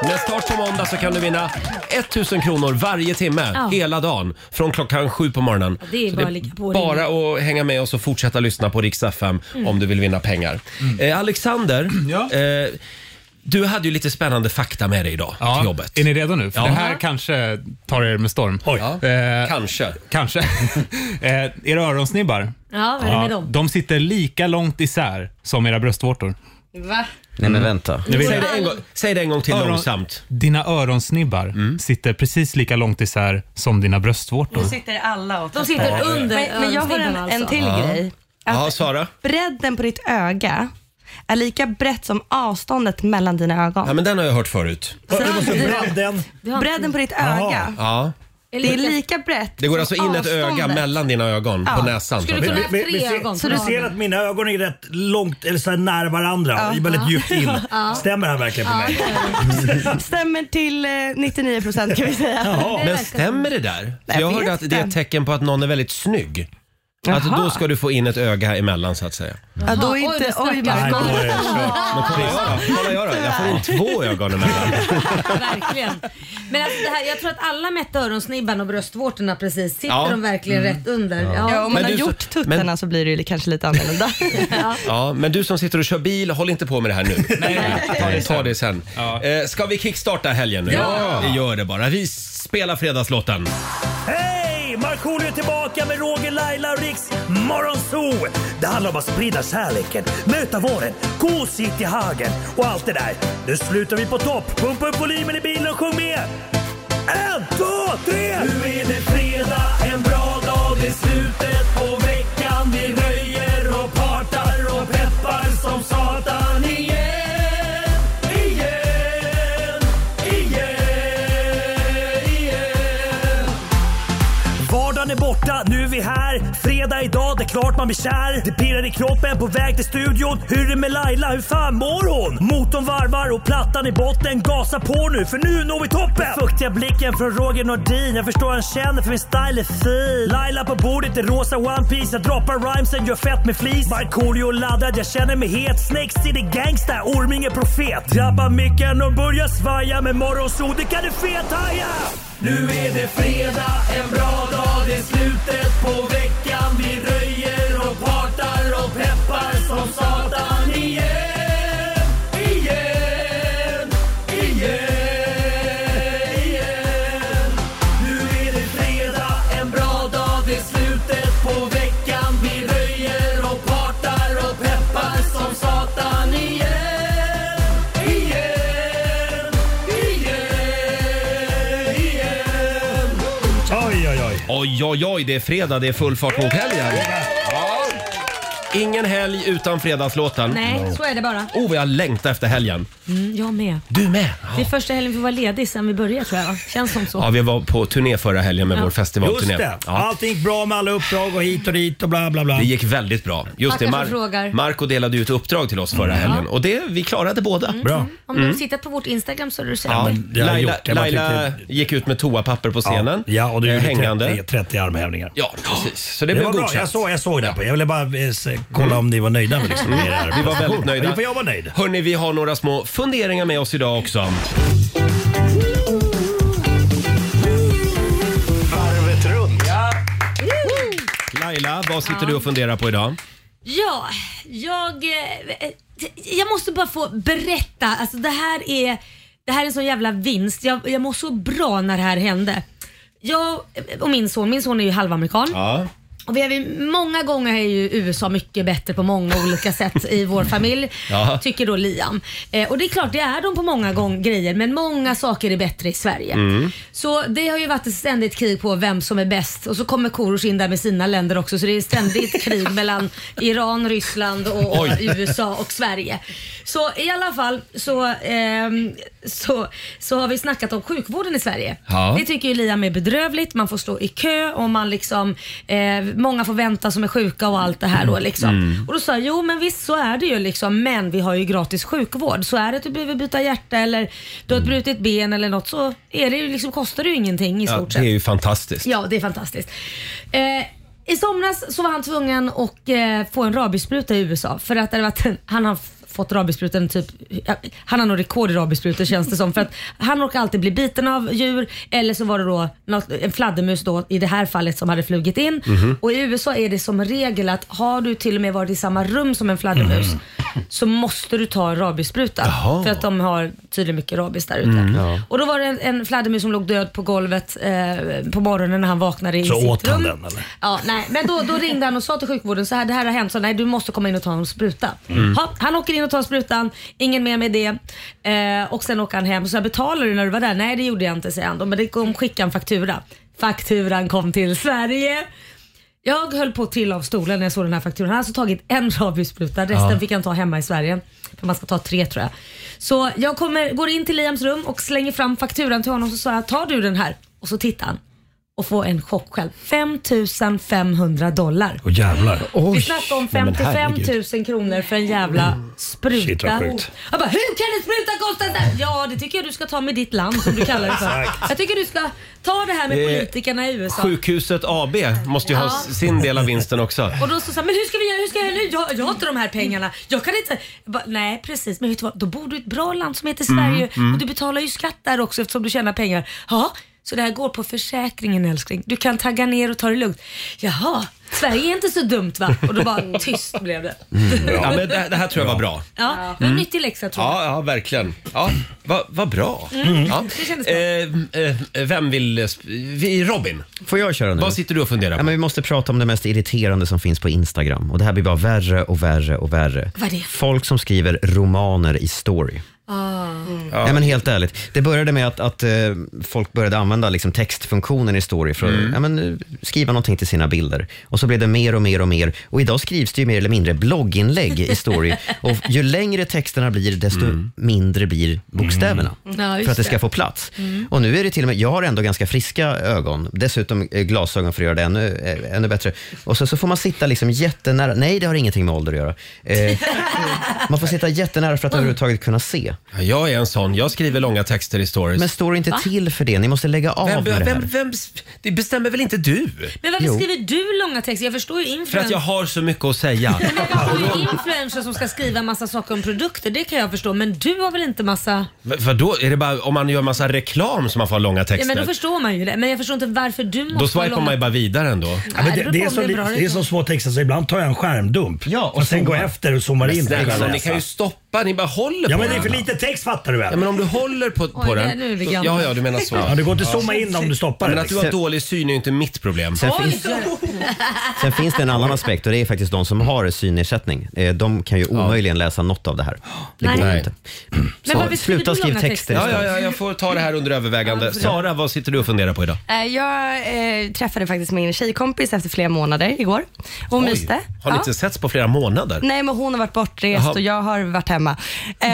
Med start på måndag så kan du vinna 1000 kronor varje timme Ja. hela dagen från klockan sju på morgonen. det är Så bara att ligga på och bara att hänga med oss och fortsätta lyssna på Rix FM Mm. om du vill vinna pengar. Mm. Eh, <clears throat> Alexander, eh, du hade ju lite spännande fakta med dig idag till jobbet. Är ni redo nu? För Ja. det här kanske tar er med storm. Eh, kanske. Kanske. <laughs> eh, era öronsnibbar. Ja, vad är det med dem? De sitter lika långt isär som era bröstvårtor. Va? Nej men vänta. Jag vet- Säg, det en gång, säg det en gång till långsamt. Dina öronsnibbar Mm. sitter precis lika långt isär som dina bröstvårtor. Nu sitter alla åt De sitter Ja. under Men, men jag har en, öronsnibbarna en alltså. till Ja. grej. Ja, Sara? Bredden på ditt öga är lika brett som avståndet mellan dina ögon. Ja, men den har jag hört förut. Bredden? Bredden på ditt öga. Ja. Det är lika brett Det går alltså som in ett öga avståndet. mellan dina ögon Ja. på näsan. Skulle så att kunna säga. ha tre ögon Så på du dagen. ser att mina ögon är rätt långt, eller så här nära varandra. Ja. Ja. Väldigt djupt in. Ja. Stämmer det här verkligen på Ja, mig? Stämmer till eh, 99 procent kan vi säga. Men stämmer det där? Jag Jag vet hörde att det är ett tecken på att någon är väldigt snygg. Att Jaha. då ska du få in ett öga emellan så att säga. Ja, då är inte... Oj, oj, Nej, då Marco. är det kört. Men kolla jag då, kolla jag då. Jag får in två ögon emellan. verkligen. Men alltså det här, jag tror att alla mätte öronsnibban och bröstvårtorna precis. Sitter Ja. de verkligen Mm. rätt under? Ja. Ja, om man Men har du- gjort tuttarna men- så blir det ju kanske lite annorlunda. Ja, men du som sitter och kör bil, håll inte på med det här nu. ta det sen. Ta det sen. Eh, Ska vi kickstarta helgen nu? Ja! Vi gör det bara. Vi spelar fredagslåten. Hej! Markoolio är tillbaka med Roger, Laila och Riks Morgonzoo! Det handlar om att sprida kärleken, möta våren, gosigt i hagen och allt det där. Nu slutar vi på topp! Pumpa upp volymen i bilen och sjung med! En, två, tre! Nu är det fredag, en bra dag, det är slutet på veckan. Vi röjer och partar och peppar som satan igen, igen, igen, igen. Vardagen är borta, nu är vi här. Fredag idag, det är klart man blir kär. Det pirrar i kroppen på väg till studion. Hur är det med Laila, hur fan mår hon? Motorn varvar och plattan i botten. Gasa på nu, för nu når vi toppen! Den fuktiga blicken från Roger Nordin. Jag förstår han känner, för min style är fin. Laila på bordet i rosa One Piece Jag droppar rhymesen, gör fett med flis. Markoolio laddad, jag känner mig het. Snakes city gangsta, Orminge profet. Drabbar micken och börjar svaja. Med morgonsol, det kan du fethaja! Nu är det fredag, en bra dag, det är slutet på veckan Vi röjer och partar och peppar som satan igen Igen, igen, igen Nu är det fredag, en bra dag, det är slutet på veckan Vi röjer och partar och peppar som satan igen Igen, igen, igen Oj, oj, oj. Oj, oj, oj. Det är fredag, det är full fart mot helgen. Ja. Ingen helg utan fredagslåten. Nej, så är det bara. Oh, vad jag längtar efter helgen. Mm, jag med. Du med? Det är första helgen vi får vara ledig sen vi började tror jag. Känns som så. Ja, vi var på turné förra helgen med Ja. vår festivalturné. Just det. Ja. Allting gick bra med alla uppdrag och hit och dit och bla bla bla. Det gick väldigt bra. Just det, Tackar som frågar. Marco delade ut uppdrag till oss förra Mm. helgen Ja. och det, vi klarade båda. Bra. Om du har tittat på vårt Instagram så har du sett Mm. Ja, det. jag har Laila, gjort Mm. det. Man Laila gick ut med toapapper på scenen. Ja, och eh, du gjorde hängande. 30, 30 armhävningar. Ja, precis. Så det, blev var bra. godkänt. Jag såg, jag såg det. På. Jag ville bara eh, se- kolla om ni var nöjda med liksom, Mm. er Vi var prestation. väldigt nöjda. Ja, för Jag var nöjd. Hörni, vi har några små funderingar med oss idag också. Varvet runt. Ja. Laila, vad sitter Ja. du och funderar på idag? Ja, jag, eh, jag måste bara få berätta. Alltså det här är, det här är en sån jävla vinst. Jag, jag mår så bra när det här hände. Jag och min son, min son är ju halvamerikan. Ja. Och vi har ju, många gånger är ju USA mycket bättre på många olika sätt i vår familj, <laughs> Ja. tycker då Liam. Eh, och det är klart, det är de på många gång, grejer, men många saker är bättre i Sverige. Mm. Så det har ju varit ett ständigt krig på vem som är bäst och så kommer Korosh in där med sina länder också så det är ett ständigt <laughs> krig mellan Iran, Ryssland och, och Oj. USA och Sverige. Så i alla fall så, ehm, så, så har vi snackat om sjukvården i Sverige. Ja. Det tycker ju Liam är bedrövligt, man får stå i kö och man liksom, eh, många får vänta som är sjuka och allt det här då liksom. Mm. Och då sa jag, jo men visst så är det ju liksom, men vi har ju gratis sjukvård. Så är det att du behöver byta hjärta eller du har ett brutit ben eller något så är det ju liksom, kostar det ju ingenting i Mm. Ja, stort det sett. är ju fantastiskt. Ja, det är fantastiskt. Eh, I somras så var han tvungen att eh, få en rabiesspruta i USA för att det hade varit en, han har f- fått rabiessprutan typ, ja, han har nog rekord i rabiessprutor känns det som. För att han råkar alltid bli biten av djur eller så var det då något, en fladdermus då i det här fallet som hade flugit in. Mhm. Och i USA är det som regel att har du till och med varit i samma rum som en fladdermus så måste du ta en rabiesspruta. För att de har tydligen mycket rabies där ute. Mm. Ja. Och då var det en, en fladdermus som låg död på golvet eh, på morgonen när han vaknade i sitt Så åt rum. han den eller? Ja, nej, men då, då ringde han och sa till sjukvården så här, det här har hänt, så nej du måste komma in och ta en spruta. Mm. Ha, han åker in och tar sprutan, ingen mer med det. Eh, och sen åker han hem. Så jag betalade du när du var där? Nej det gjorde jag inte säger han då, men det kom, skicka en faktura. Fakturan kom till Sverige. Jag höll på till av stolen när jag såg den här fakturan. Han har alltså tagit en rabiesspruta, resten Ja. fick han ta hemma i Sverige. För man ska ta tre tror jag. Så jag kommer, går in till Liams rum och slänger fram fakturan till honom och så sa jag, tar du den här? Och så tittar han och får en chock själv. 5 500 dollar. Åh jävlar. Vi snackar om Nej, men 55 herregud. Mm. 000 kronor för en jävla spruta. Oh. Shit, vad sjukt. jag bara, hur kan en spruta kosta det? Ja, det tycker jag du ska ta med ditt land som du kallar det <laughs> för. Exakt. Jag tycker du ska ta det här med Eh, politikerna i USA. Sjukhuset AB måste ju ha Ja. s- sin del av vinsten också. Och då så sa men hur ska vi göra? Hur ska jag göra nu? Jag, jag har inte de här pengarna. Jag kan inte. Jag bara, nej precis, men vet du vad? Då bor du i ett bra land som heter Mm, Sverige mm. och du betalar ju skatt där också eftersom du tjänar pengar. Ja, så det här går på försäkringen älskling. Du kan tagga ner och ta det lugnt. Jaha, Sverige är inte så dumt va? Och då <laughs> bara tyst blev det. Ja, men det, det här tror jag var bra. Ja, det var en Mm. nyttig läxa tror jag. Ja, ja verkligen. Ja, vad va bra. Mm. Ja. Det kändes Eh, eh, vem vill... eh, sp- Vi, Robin? Får jag köra nu? Vad sitter du och funderar Ja, på? men vi måste prata om det mest irriterande som finns på Instagram. Och Det här blir bara värre och värre och värre. Vad är det? Folk som skriver romaner i story. Ja. Nej, men helt ärligt. Det började med att, att eh, folk började använda liksom, textfunktionen i story för att Mm. ja, men, eh, skriva någonting till sina bilder. Och så blev det mer och mer och mer. Och idag skrivs det ju mer eller mindre blogginlägg i <laughs> story. och ju längre texterna blir, desto mindre blir bokstäverna. Mm. Ja, just för att det ska det. få plats. Mm. Och nu är det till och med, jag har ändå ganska friska ögon, dessutom eh, glasögon för att göra det ännu, eh, ännu bättre. Och sen så får man sitta liksom jättenära, nej det har ingenting med ålder att göra. <laughs> Eh, man får sitta jättenära för att överhuvudtaget kunna se. Ja, jag är en sån, jag skriver långa texter i stories. Men står inte till för det, ni måste lägga av Vem, med det här. vem, vem, det bestämmer väl inte du? Men varför skriver du långa texter? Jag förstår ju influencer. Eh, För att jag har så mycket att <laughs> säga. har ju influencers som ska skriva massa saker om produkter, det kan jag förstå. Men du har väl inte massa... Men Vadå, är det bara om man gör massa reklam som man får ha långa Ja, texter? men då förstår man ju det. Men jag förstår inte varför du måste Då ha swipar långa- man ju bara vidare ändå. Ja, men Nej, det, det det, är beror på som, om det är bra det eller är som små texter, så ibland tar jag en skärmdump. Ja, och sen går jag efter och zoomar in. Men snälla, ni kan ju stoppa, ni bara håller Ja, på men det är för den. lite text fattar du väl? Ja, men om du håller på, på Oj, den. nu är vi så- gamla. ja, ja, du menar så. Ja, det går inte att zooma in om du stoppar Men det, att du liksom. har dålig syn är ju inte mitt problem. Sen Oj! finns- Sen finns det en annan aspekt och det är faktiskt de som har synnedsättning. Eh, De kan ju omöjligen läsa något av det här. Det går Nej. ju inte. Men varför skriver Så sluta du skriv långa texter Ja, ja, istället. ja, jag får ta det här under övervägande. Ja, Sara, vad sitter du och funderar på idag? Eh, Jag eh, träffade faktiskt min tjejkompis efter flera månader igår och Oj, myste. Har ni Ja. inte setts på flera månader? Nej, men hon har varit bortrest Jaha. och jag har varit hemma. Eh, <laughs>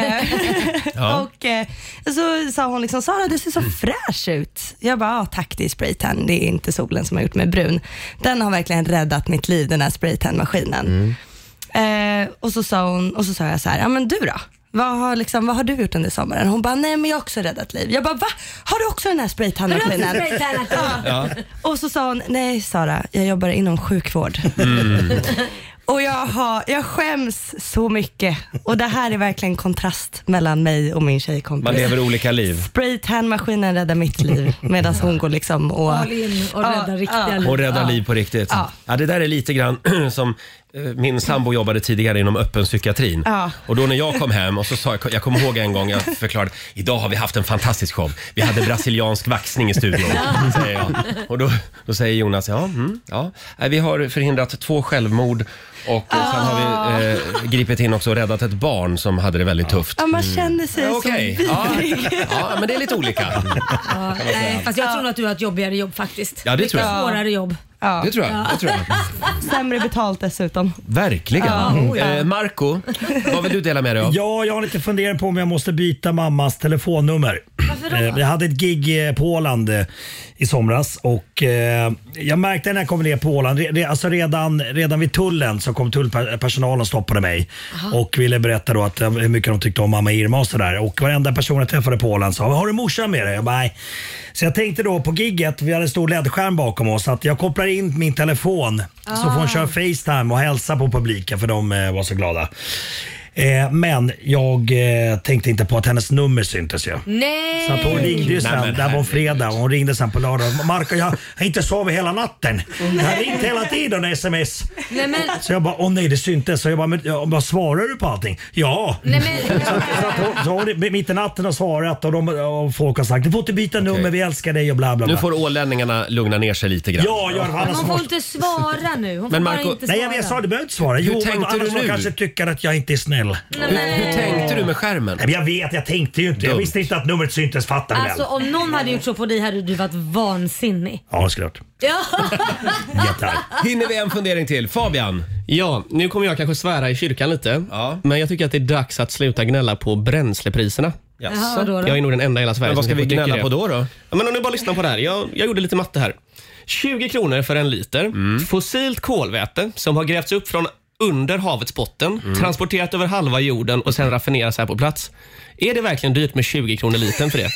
Ja. Mm. Och eh, så sa hon liksom, Sara du ser så fräsch ut. Jag bara, ja tack det är spraytan, det är inte solen som har gjort mig brun. Den har verkligen räddat mitt liv, den här spraytan-maskinen. Mm. Eh, och, så sa hon, och så sa jag så här, ja men du då? Vad har, liksom, vad har du gjort under sommaren? Hon bara, nej men jag har också räddat liv. Jag bara, va? Har du också den här spraytan-maskinen? Har du också spraytannat då? Ja. Och så sa hon, nej Sara, jag jobbar inom sjukvård. Mm. <laughs> Och jag, har, jag skäms så mycket. Och det här är verkligen kontrast mellan mig och min tjejkompis. Man lever olika liv. Spraytan-maskinen räddar mitt liv medan hon går liksom och... All in och rädda riktiga liv. Och rädda Ja. liv på riktigt. Ja. det där är lite grann <clears throat> som eh, min sambo jobbade tidigare inom öppen psykiatrin. Ja. Och då när jag kom hem och så sa jag, jag kommer ihåg en gång jag förklarade, idag har vi haft en fantastisk show. Vi hade brasiliansk vaxning i studion, Ja. säger jag. Och då, då säger Jonas, ja, mm, ja. Nej, vi har förhindrat två självmord och eh, sen har vi eh, gripit in också och räddat ett barn som hade det väldigt tufft. Ah. Ja, man Mm. känner sig Ja, så okej. vidrig. Ja. ja, men det är lite olika. Ja, man nej, säga. fast jag tror nog att du har ett jobbigare jobb faktiskt. Ja, det tror jag. Mycket svårare jobb. Ja. Det tror jag, det tror jag. Sämre betalt dessutom. Verkligen. Ja, oh ja. Eh, Marco, vad vill du dela med dig av? Ja, jag har lite funderat på om jag måste byta mammas telefonnummer. Varför Jag hade ett gig eh, på Åland eh, i somras och eh, jag märkte när jag kom ner på Åland, re- re- alltså redan, redan vid tullen så kom tullpersonalen och stoppade mig Aha. och ville berätta då att, eh, hur mycket de tyckte om mamma Irma och sådär. Och varenda person jag träffade på Åland sa “Har du morsan med dig?” Jag bara, Nej. Så jag tänkte då på gigget, vi hade en stor ledskärm bakom oss, att jag kopplar in min telefon så får hon köra Facetime och hälsa på publiken för de eh, var så glada. Eh, men jag eh, tänkte inte på att hennes nummer syntes ju. Nej! Så att hon ringde ju Nej, sen, men det här var en fredag, och hon ringde sen på lördag. Marco jag har inte sovit hela natten. Jag har ringt hela tiden och sms. Nej, men- Så jag bara, åh nej det syntes. Så jag bara, men, jag bara svarar du på allting? Ja. Nej, men... Så, så att hon, så hon, mitt i natten har svarat och, de, och folk har sagt, du får inte byta nummer, vi älskar dig och bla bla bla. Nu får ålänningarna lugna ner sig lite grann. Ja, gör det, för Men annars hon får måste... inte svara nu. Hon Men får bara Marco- inte svara. Nej, jag, jag sa du behöver inte svara. Hur Jo, men tänkte du annars nu? hon kanske tycker att jag inte är snäll. Nej. Hur tänkte du med skärmen? Nej, men jag vet, jag tänkte ju inte. Jag Dumt. visste inte att numret syntes, fattar du Alltså väl? om någon hade gjort så på dig hade du varit vansinnig. Ja, såklart. <laughs> Ja. Hinner vi en fundering till? Fabian? Ja, nu kommer jag kanske svära i kyrkan lite. Men jag tycker att det är dags att sluta gnälla på bränslepriserna. Jaså? Jaha, vadå då? Jag är nog den enda i hela Sverige Men vad som ska vi kanske tycker gnälla det. på då då? Ja, men om ni bara lyssnar på det här. Jag, jag gjorde lite matte här. 20 kronor för en liter Mm. fossilt kolväte som har grävts upp från under havets botten, Mm. transporterat över halva jorden och sen raffineras här på plats. Är det verkligen dyrt med 20 kronor litern för det?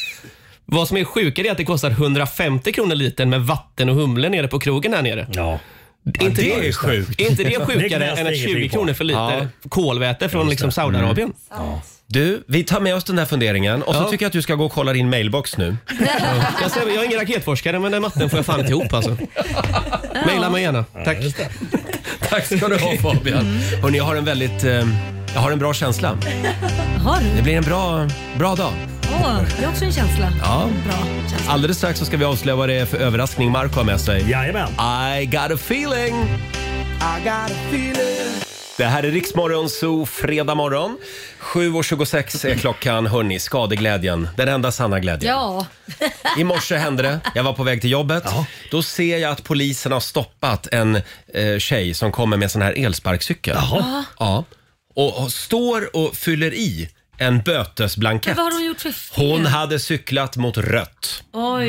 Vad som är sjukare är att det kostar 150 kronor litern med vatten och humle nere på krogen här nere. Ja. Inte Ja, det är sjukt. Är inte Det det sjukare knäste än att ingenting 20 på. kronor för liter kolväte Just från det. liksom Saudiarabien? Mm. Du, vi tar med oss den där funderingen och så Ja. tycker jag att du ska gå och kolla din mailbox <laughs> nu. Jag, säger, jag är ingen raketforskare, men den matten får jag fan inte ihop alltså. Maila mig gärna. Tack. <laughs> Tack ska du ha Fabian. Mm. Hörrni, jag har en väldigt... Eh, jag har en bra känsla. Har du? Det blir en bra, bra dag. Åh, det är också en känsla. Ja. Bra känsla. Alldeles strax så ska vi avslöja vad det är för överraskning Marco har med sig. Jajamän. I got a feeling. Det här är Riksmorgon Zoo, fredag morgon. 7.26 är klockan. Hörni, skadeglädjen. Den enda sanna glädjen. Ja. I morse hände det. Jag var på väg till jobbet. Då ser jag att polisen har stoppat en eh, tjej som kommer med sån här elsparkcykel. Jaha. Ja. Och, och står och fyller i en Men bötesblankett. vad har hon gjort för fel? Hon hade cyklat mot rött. Oj,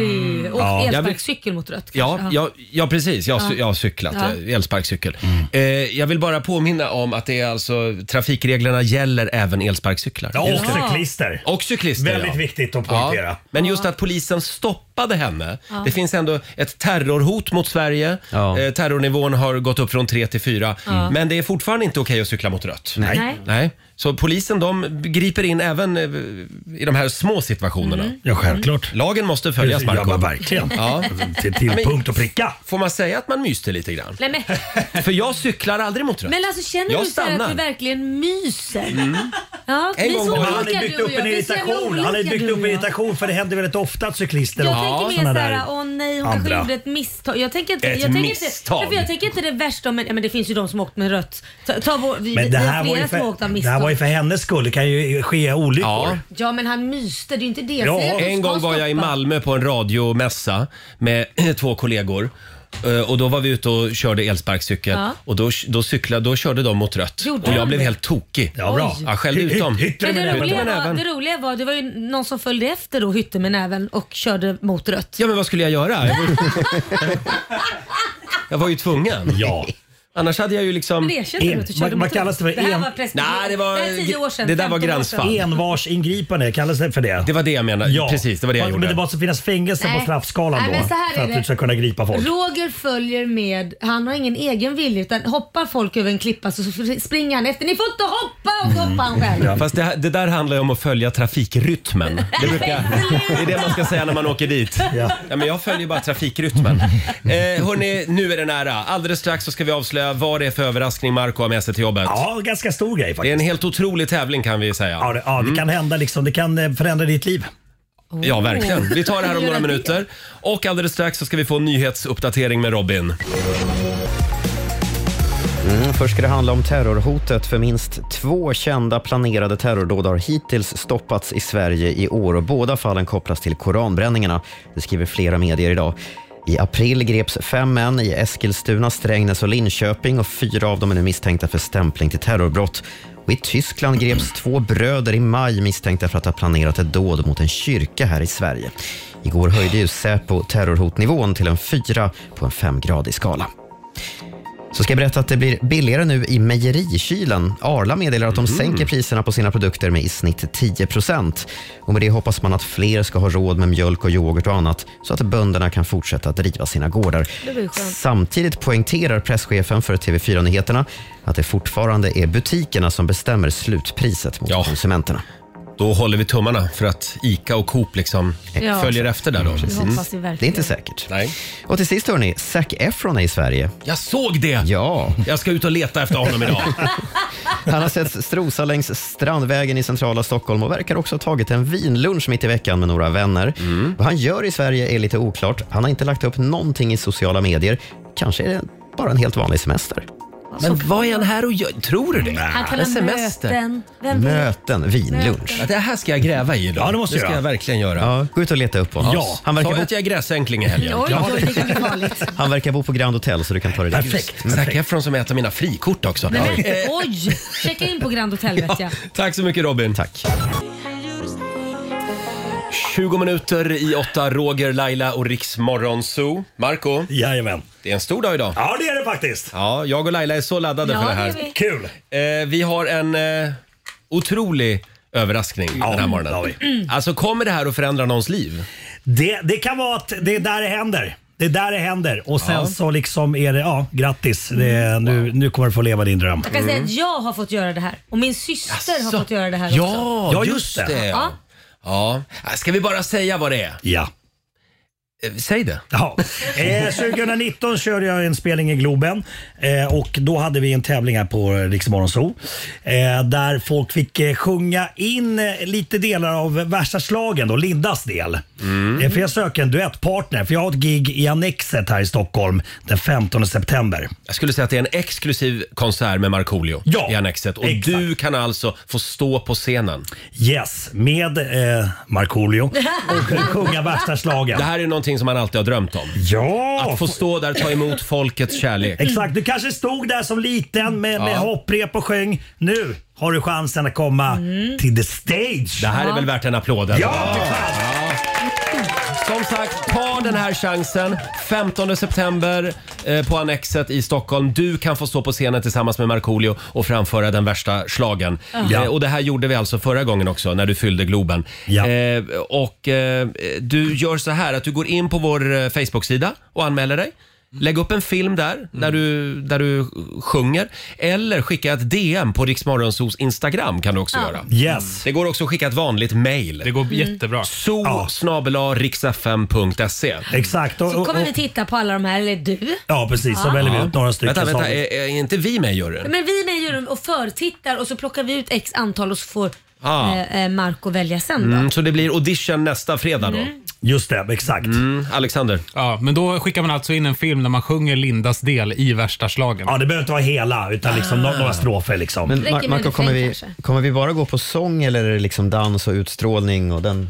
och Ja. elsparkcykel mot rött Ja, kanske. ja, ja precis. Jag, har cy- Ja. jag har cyklat. Ja. eh, Elsparkcykel. Mm. Eh, jag vill bara påminna om att det är alltså, trafikreglerna gäller även elsparkcyklar. Ja, och cyklister. Och cyklister, Väldigt ja. viktigt att poängtera. Ja, men just att polisen stoppade henne. Ja. Det finns ändå ett terrorhot mot Sverige. Eh, terrornivån har gått upp från tre till fyra. Ja. Men det är fortfarande inte okej att cykla mot rött. Nej. Nej. Nej. Så polisen de griper in även eh, i de här små situationerna. Ja, självklart. Lagen måste följas, Ja, Marco. men verkligen. Till- till punkt och pricka. Får man säga att man myste lite grann? Nej, men, För jag cyklar aldrig mot rött. men alltså känner jag du så här att du verkligen myser? Mm. Ja, En vi gång är så var han har olika, byggt du och upp en jag. Vi är så jävla irritation. Han har olika, du byggt upp en och jag. irritation för det händer väldigt ofta att cyklister Jag och tänker mer såna såhär, åh nej hon kanske andra. gjorde ett misstag. Jag tänker inte, Ett jag tänker misstag? Inte, för jag tänker inte det värsta om en, ja, men det finns ju de som åkt med rött. Ta, ta vår, vi, Men det här, vi är var flera ju som åkt av för, det här misstag. var ju för hennes skull. Det kan ju ske olyckor. Ja men han myste, det är ju inte det. Ja, Säg att de en ska gång var jag i stoppa. Malmö på en radiomässa med <clears throat> två kollegor. Eh, Och då var vi ute och körde elsparkcykel Ja. och då, då cyklade, då körde de mot rött. Gjorde och jag de blev det? helt tokig. Ja, bra. Jag skällde ut dem. Men det, roliga Hytte med var, näven. det roliga var, det var ju någon som följde efter då hytte med näven och körde mot rött. Ja men vad skulle jag göra? Jag <laughs> var- Jag var ju tvungen. Ja. Annars hade jag ju liksom... Mm. Men det erkänner du att du körde mot rött. Det här var preskriberat. Nej, det var... Det här är tio år sedan, det där var 15 år sedan. gränsfall. Envarsingripande, kallas det för det? Det var det jag menade. Ja. Precis, det var det jag Men gjorde. det måste finnas fängelse Nej. på straffskalan Nej, då. men så här för är att det. du ska kunna gripa folk. Roger följer med, han har ingen egen vilja utan hoppar folk över en klippa så springer han efter. Ni får inte hoppa! Och så hoppar Mm. han själv. Fast det, här- det där handlar ju om att följa <laughs> trafikrytmen. Det, brukar, det är det man ska säga när man åker dit. Ja. men jag följer bara trafikrytmen. Eh, hörni, nu är det nära. Alldeles strax så ska vi avslöja undrar vad det är för överraskning Marco har med sig till jobbet. Ja, ganska stor grej faktiskt. Det är en helt otrolig tävling kan vi säga. Ja, det, ja, det kan hända liksom. Det kan eh, förändra ditt liv. Ja, verkligen. Vi tar det <laughs> här om några Göra det. minuter. Och alldeles strax så ska vi få en nyhetsuppdatering med Robin. Mm, först ska det handla om terrorhotet för minst två kända planerade terrordåd har hittills stoppats i Sverige i år och båda fallen kopplas till koranbränningarna. Det skriver flera medier idag. I april greps fem män i Eskilstuna, Strängnäs och Linköping och fyra av dem är nu misstänkta för stämpling till terrorbrott. Och I Tyskland greps två bröder i maj misstänkta för att ha planerat ett dåd mot en kyrka här i Sverige. Igår höjde ju Säpo terrorhotnivån till en fyra på en femgradig skala. Så ska jag berätta att det blir billigare nu i mejerikylen. Arla meddelar att de sänker priserna på sina produkter med i snitt 10 Och Med det hoppas man att fler ska ha råd med mjölk och yoghurt och annat så att bönderna kan fortsätta att driva sina gårdar. Det blir skönt. Samtidigt poängterar presschefen för TV4 Nyheterna att det fortfarande är butikerna som bestämmer slutpriset mot konsumenterna. Då håller vi tummarna för att ICA och Coop liksom Ja. följer efter där då. Mm, precis. hoppas vi verkligen. Det är inte säkert. Nej. Och till sist hörni, Zac Efron är i Sverige. Jag såg det! Ja. Jag ska ut och leta efter honom idag. Han har sett strosa längs Strandvägen i centrala Stockholm och verkar också ha tagit en vinlunch mitt i veckan med några vänner. Mm. Vad han gör i Sverige är lite oklart. Han har inte lagt upp någonting i sociala medier. Kanske är det bara en helt vanlig semester. Men vad är han här och gör? Tror du det? Han kallar En semester. möten. Vem vet? Möten, vinlunch. Ja, det här ska jag gräva i idag. Ja, det måste det du ska göra. jag verkligen göra. Ja, gå ut och leta upp honom. Ja. Han, verkar Sa jag bo, att jag är <laughs> gräsänkling i helgen? Oj, oj, oj, det kan bli farligt. han verkar bo på Grand Hotel så du kan ta det dit. Perfekt. Zac Efron som är ett av mina frikort också. Nej, men, Eh, oj! Checka in på Grand Hotel vet jag. Tack så mycket Robin. Tack. 20 minuter i åtta, Roger, Laila och Riksmorgon Zoo. Marco. Jajamän. Det är en stor dag idag. Ja, det är det faktiskt. Ja, jag och Laila är så laddade Ja, för det det här. är vi. Kul! Eh, vi har en eh, otrolig överraskning den här morgonen. det har Alltså kommer det här att förändra någons liv? Det, det kan vara att det är där det händer. Det är där det händer och sen Ja. så liksom är det, ja grattis. Det, nu, nu kommer du få leva din dröm. Jag kan säga att jag har fått göra det här och min syster har fått göra det här Mm. Ja, också. ja, just det. Ja. Ja. Ska vi bara säga vad det är? Ja. Säg det. Ja. Eh, 2019 körde jag en spelning i Globen eh, och då hade vi en tävling här på Riksmorgon Zoo eh, där folk fick eh, sjunga in eh, lite delar av värsta slagen och Lindas del. Eh, för jag söker en duettpartner för jag har ett gig i Annexet här i Stockholm den 15 september. Jag skulle säga att det är en exklusiv konsert med Markoolio i Annexet. Och du kan alltså få stå på scenen. Yes, med eh, Markoolio <laughs> och sjunga värsta slagen. Det här är någonting som man alltid har drömt om. Ja! Att få stå där och ta emot folkets kärlek. Exakt, du kanske stod där som liten med, med Ja. hopprep och sjöng. Nu har du chansen att komma Mm. till the stage. Det här är väl värt en applåd? eller? Ja, det är Som sagt, ta den här chansen. 15 september eh, på Annexet i Stockholm. Du kan få stå på scenen tillsammans med Markoolio och framföra den värsta slagen. Ja. Eh, och det här gjorde vi alltså förra gången också när du fyllde Globen. Eh, och eh, du gör så här att du går in på vår eh, Facebook-sida och anmäler dig. Lägg upp en film där, där, du, där du sjunger. Eller skicka ett DM på Riksmorgonsos Instagram kan du också Ja. göra. Yes. Det går också att skicka ett vanligt mail. Det går Mm. jättebra. So snabela riksfm.se. Exakt. Och, Så kommer vi titta på alla de här, eller du. Ja, precis. Så Ja. väljer vi ut några stycken. Vänta, vänta. som- Är, är inte vi med i juryn? Men vi är med i juryn och förtittar och så plockar vi ut x antal och så får Ja. eh, eh, Marco välja sen då. Ah. Mm, så det blir audition nästa fredag då? Mm. Just det, exakt. Mm, Alexander? Ja, men då skickar man alltså in en film där man sjunger Lindas del i värsta slagen. Ja, det behöver inte vara hela utan liksom no- några strofer liksom. Men Mar- Marco, kommer vi, kommer vi bara gå på sång eller är det liksom dans och utstrålning och den?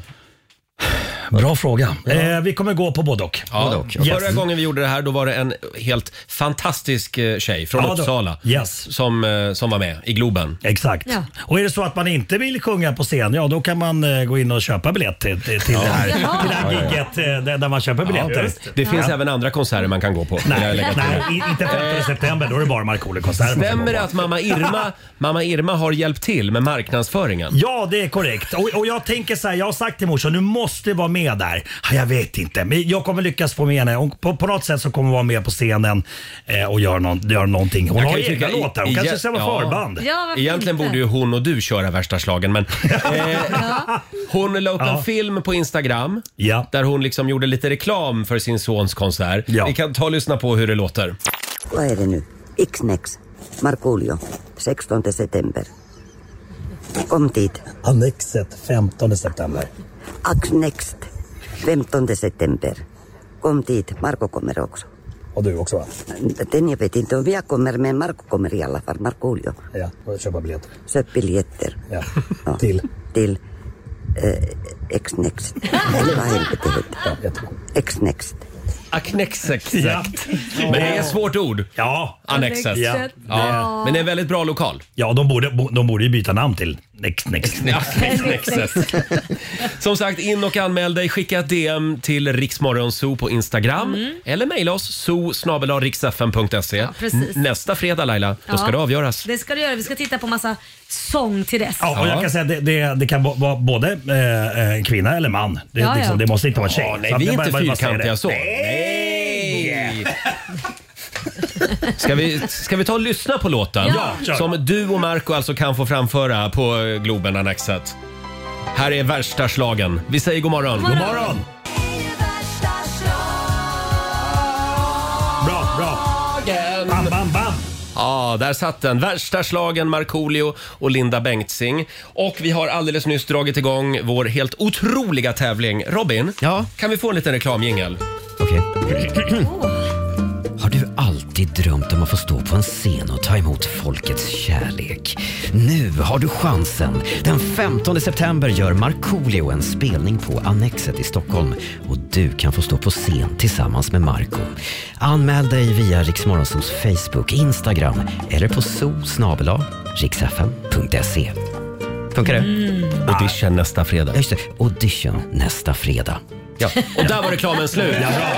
Bra fråga. Eh, vi kommer gå på både och. Ja, Förra Yes. gången vi gjorde det här då var det en helt fantastisk eh, tjej från Ja, då. Uppsala Yes. som, eh, som var med i Globen. Exakt. Och är det så att man inte vill sjunga på scen, ja då kan man eh, gå in och köpa biljett till, till, till det här, Jaha. till det här gigget eh, där, där man köper biljetter. Det finns Ja. även andra konserter man kan gå på. vill jag Nej, lägga till. Eh. nej i- inte 15 september. Då är det bara Markoolio-konserter. man ska gå Stämmer på. det att mamma Irma, mamma Irma har hjälpt till med marknadsföringen? Ja, det är korrekt. Och, och jag tänker så här, jag har sagt till morsan, du måste vara med där. Ja, Jag vet inte, men jag kommer lyckas få med henne. Hon, på, på något sätt så kommer hon vara med på scenen eh, och göra, någon, göra någonting. Hon Jag har kan ju ju egna tycka- låtar. Hon i- kanske i- ska vara ja. förband. Ja, varför Egentligen inte? borde ju hon och du köra värsta slagen <laughs> men eh, hon la upp en film på Instagram där hon liksom gjorde lite reklam för sin sons konsert. Vi kan ta och lyssna på hur det låter. Vad är det nu? Ixnex, Markoolio, 16 september. Kom dit. Annexet 15 september. Axnext, 15 september. Kom dit, Marco kommer också. Och du också va? Den jag vet inte om jag kommer, men Marco kommer i alla fall, Markoolio. Ja, och köpa biljetter. Köp biljetter. <laughs> Ja. Till? Till eh, Xnext. Eller vad helvete heter det? Xnext. Aknexexakt. Men det är ett svårt ord. Ja. Annexet. Ja. Ja. Men det är en väldigt bra lokal. Ja, de borde, bo- de borde ju byta namn till Next Next. Knexet. Som sagt, in och anmäl dig. Skicka ett DM till Riksmorgonzoo på Instagram eller mejla oss zoo precis. Nästa fredag Laila, då ska Ja. det avgöras. Det ska du göra. Vi ska titta på massa sång till dess. Ja, och jag kan säga att det, det, det kan bo- vara både eh, en kvinna eller man. Det, Ja, ja. liksom, det måste inte vara en Ja, tjej. nej, Så att vi är jag bara- inte bara- bara säger det. fyrkantiga så. Ska vi, ska vi ta och lyssna på låten? Ja. Ja, kör. Som du och Marco alltså kan få framföra på eh, Globen Annexet. Här är värsta slagen. Vi säger god morgon. God morgon. God morgon. Bra, bra. Bam, bam, bam. <clears throat> Ja, där satt den. Värsta slagen Markoolio och Linda Bengtzing. Och vi har alldeles nyss dragit igång vår helt otroliga tävling. Robin, kan vi få en liten reklamjingel? Okej. Har du alltid drömt om att få stå på en scen och ta emot folkets kärlek? Nu har du chansen! Den 15 september gör Markoolio en spelning på Annexet i Stockholm och du kan få stå på scen tillsammans med Marco. Anmäl dig via Riksmorgonsols Facebook, Instagram eller på so.riksfn.se. Funkar det? Audition nästa fredag. Just det, audition nästa fredag. Ja. Och där var reklamen slut. Ja, bra.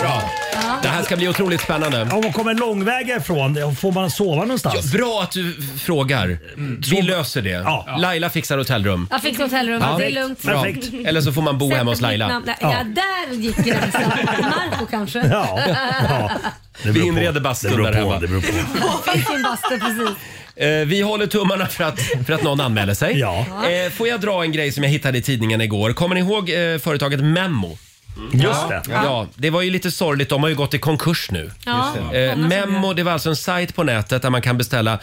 bra. Det här ska bli otroligt spännande. Om man kommer långväga ifrån, får man sova någonstans? Bra att du frågar. Vi löser det. Laila fixar hotellrum. Jag fick hotellrum. Ja. Det är lugnt. Bra. Eller så får man bo Sätt hemma hos mitt Laila. namn där. Ja. där gick gränsen. Marco <laughs> kanske? Ja, ja. Vi inreder Det bastun beror där på, hemma. det beror på. Fick sin bastu precis. Eh, vi håller tummarna för att, för att någon anmäler sig. Eh, får jag dra en grej som jag hittade i tidningen igår? Kommer ni ihåg eh, företaget Memmo? Just det. Ja. ja, det var ju lite sorgligt. De har ju gått i konkurs nu. Ja, Just det. Eh, många som Memmo, det var alltså en sajt på nätet där man kan beställa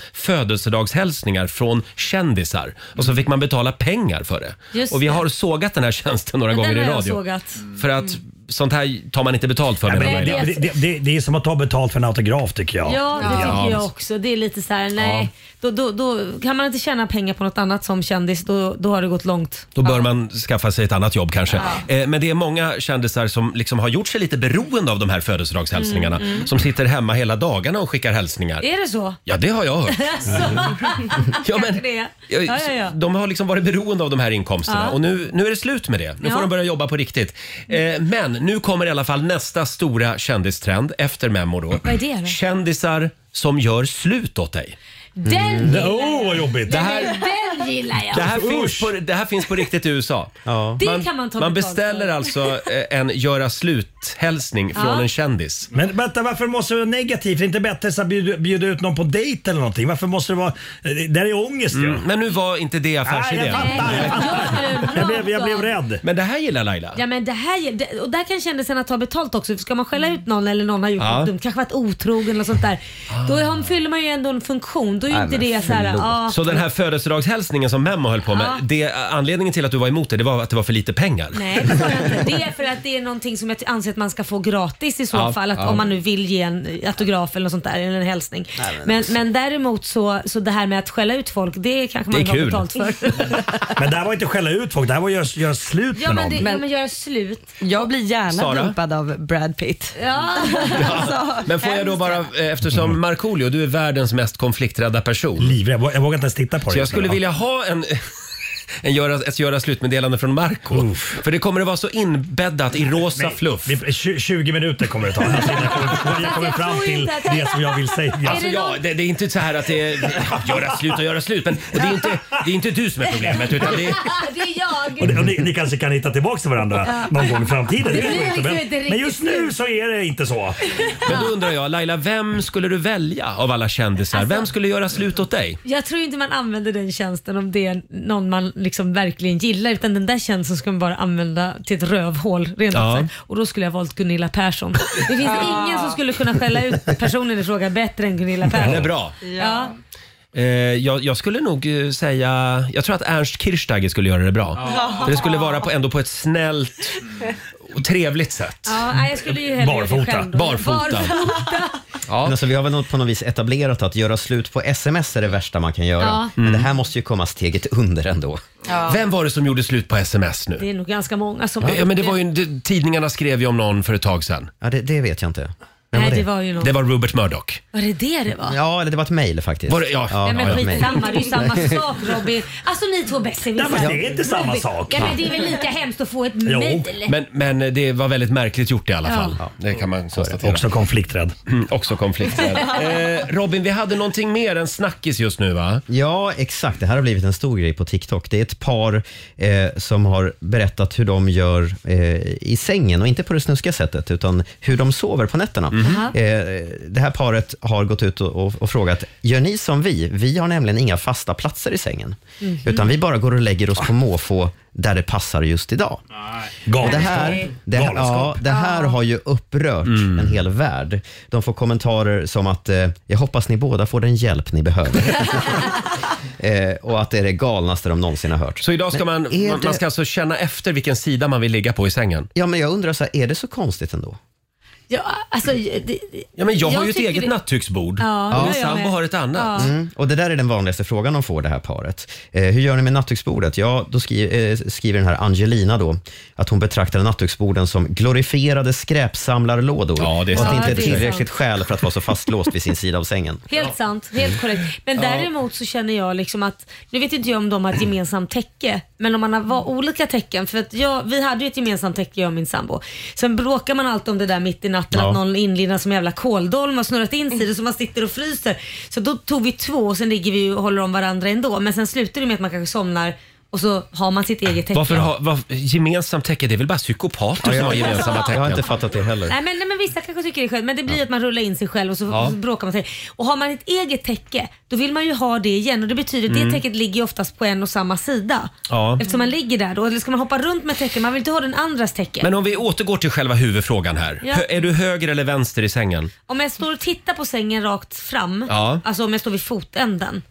födelsedagshälsningar från kändisar. Och så fick man betala pengar för det. Just och vi det. har sågat den här tjänsten några gånger Den i har jag radio. sågat. Mm. För att sånt här tar man inte betalt för. Ja, menar men Laila. det, det, det, det är som att ta betalt för en autograf tycker jag. Ja, det tycker jag Ja. också. Det är lite så här, nej. Då, då, då kan man inte tjäna pengar på något annat som kändis, då, då har det gått långt. Då bör man skaffa sig ett annat jobb kanske. Ja. Eh, Men det är många kändisar som liksom har gjort sig lite beroende av de här födelsedagshälsningarna. Mm, mm. Som sitter hemma hela dagarna och skickar hälsningar. Är det så? Ja, det har jag hört. Alltså. Ja, men- Kanske det. Ja, ja, ja. De har liksom varit beroende av de här inkomsterna Ja. och nu, nu är det slut med det. Nu Ja. får de börja jobba på riktigt. Eh, men nu kommer i alla fall nästa stora kändistrend efter Memmo då. Vad är det då? Kändisar som gör slut åt dig. Den gillar jag. Åh, vad jobbigt. Det här- Den gillar jag. Det här, finns på, det här finns på riktigt i USA. Det kan man ta betalt beställer alltså eh, en göra slut-hälsning Ja. från en kändis. Men vänta, varför måste det vara negativt? Det är inte bättre så att bjuda, bjuda ut någon på dejt eller någonting? Varför måste det vara... eh, Där är ångest ju. Mm, Men nu var inte det affärsidén. Nej, jag fattar, jag fattar. Jag blev, jag blev rädd. Men det här gillar Laila. Ja men det här, ge- det- och där kan kändisarna ta betalt också. Ska man skälla ut någon eller någon har gjort Ja. Ah. något dumt, kanske varit otrogen och sånt där. Då har, fyller man ju ändå en funktion. Då är ju inte det så här, ah, Så den här födelsedagshälsningen som Memmo höll på med, Ja. det, anledningen till att du var emot det, det var att det var för lite pengar. Nej, det sa jag inte. Det är för att det är någonting som jag anser att man ska få gratis i så Ja, fall. Att ja. Om man nu vill ge en autograf eller något sånt där, eller en hälsning. Nej, men men, men, däremot så, så det här med att skälla ut folk, det kanske Det man är inte har kul. betalt <laughs> för. Men det här var inte skälla ut folk, det här var göra gör slut ja, med någon. men det, ja, men göra slut. Jag blir gärna Sara? dumpad av Brad Pitt. Ja. Ja. Men får jag då bara, eh, eftersom Markoolio, du är vårdens mest konflikträdda person. Livrädd, jag vågar inte ens titta på det. Så jag skulle vilja ha en... <laughs> En göra, ett göra slutmeddelande från Marco För det kommer att vara så inbäddat i rosa fluff. 20 minuter kommer det ta. Alltså, jag kommer- jag kommer fram till det som jag vill säga. Alltså, ja, det, det är inte så här att det är göra slut och göra slut. Men och det, är inte, det är inte du som är problemet utan det är <laughs> det är jag. Och ni, och ni, ni kanske kan hitta tillbaka till varandra någon gång i framtiden. Det vet blir jag liksom inte, inte men, riktigt men just nu så är det inte så. Men då undrar jag, Laila, vem skulle du välja Alltså- av alla kändisar? Vem skulle göra slut åt dig? Jag tror inte man använder den tjänsten om det är någon man liksom verkligen gillar utan den där tjänsten ska man bara använda till ett rövhål rent Ja. ja. Och då skulle jag valt Gunilla Persson. Det finns Ah. ingen som skulle kunna skälla ut personen i fråga bättre än Gunilla Persson. Hon är bra. Ja. Eh, jag, jag skulle nog eh, säga, jag tror att Ernst Kirchsteiger skulle göra det bra. Ja. För det skulle vara på, ändå på ett snällt och trevligt sätt. Ja, nej, jag skulle ju hellre göra det Barfota. själv då. Barfota. Men alltså, vi har väl något- på något vis etablerat att göra slut på sms är det värsta man kan göra. Ja. Men det här måste ju komma steget under ändå. Ja. Vem var det som gjorde slut på sms nu? Det är nog ganska många som... Ja, men det var ju, det, tidningarna skrev ju om någon för ett tag sedan. Ja, det, vet jag inte. Nej, det? det var ju någon- Det var Rupert Murdoch. Var det det det var? Ja, eller det var ett mejl faktiskt. Var det- ja. Nej men ett mejl. skitsamma, det är ju samma sak Robin. Alltså ni två besserwissrar. Nej, men det är inte samma Robin, sak. Ja, men det är väl lika hemskt att få ett Alltså, Jo, mejl. men, men det var väldigt märkligt gjort i alla Ja. fall. Ja. Det kan man konstatera. Också konflikträdd. Mm, också konflikträdd. eh, Robin, vi hade någonting mer än snackis just nu va? Ja, exakt. Det här har blivit en stor grej på TikTok. Det är ett par eh, som har berättat hur de gör eh, i sängen och inte på det snuskiga sättet, utan hur de sover på nätterna. Eh, det här paret har gått ut och, och, och frågat, gör ni som vi? Vi har nämligen inga fasta platser i sängen, Mhm. utan vi bara går och lägger oss på måfå där det passar just idag. Galenskap. Det här, det, här- ja, Galenskap. det här har ju upprört Mm. en hel värld. De får kommentarer som att eh, “jag hoppas ni båda får den hjälp ni behöver” eh, och att det är det galnaste de någonsin har hört. Så idag ska Men man, är man, man det- ska alltså känna efter vilken sida man vill ligga på i sängen. Ja, men jag undrar så här, är det så konstigt ändå? Ja, alltså, det, Ja, men jag, har ju ett tycker eget det- nattduksbord. Ja, det har Min jag sambo med. har ett annat. Ja. Mm. Och det där är den vanligaste frågan de får det här paret. Eh, hur gör ni med nattduksbordet? Ja, då skri eh, skriver den här Angelina då att hon betraktar nattduksborden som glorifierade skräpsamlarlådor. Ja, är och att det sant. inte är Ja, det är sant. tillräckligt skäl för att vara så fastlåst vid sin sida av sängen. Helt sant, helt korrekt. Men Ja. däremot så känner jag liksom att, nu vet inte jag om de har ett gemensamt täcke, men om man har var olika tecken, för att jag, vi hade ju ett gemensamt täcke jag och min sambo. Sen bråkar man alltid om det där mitt i natten, Ja. att någon inlindar som jävla kåldolm och snurrat in sig i det, så man sitter och fryser. Så då tog vi två och sen ligger vi och håller om varandra ändå, men sen slutar det med att man kanske somnar och så har man sitt eget täcke. Varför ha, var, gemensamt täcke? Det är väl bara psykopater Ja, som jag- har gemensamma jag har täcken? inte fattat det heller. Nej men, nej men vissa kanske tycker det är skönt men det blir att man rullar in sig själv och så, Ja. så bråkar man sig. Och har man ett eget täcke då vill man ju ha det igen och det betyder att Mm. det täcket ligger ju oftast på en och samma sida. Ja. Eftersom man ligger där då. Eller ska man hoppa runt med täcken? Man vill inte ha den andras täcke. Men om vi återgår till själva huvudfrågan här. Ja. Hö- Är du höger eller vänster i sängen? Om jag står och tittar på sängen rakt fram, Ja. alltså om jag står vid fotänden,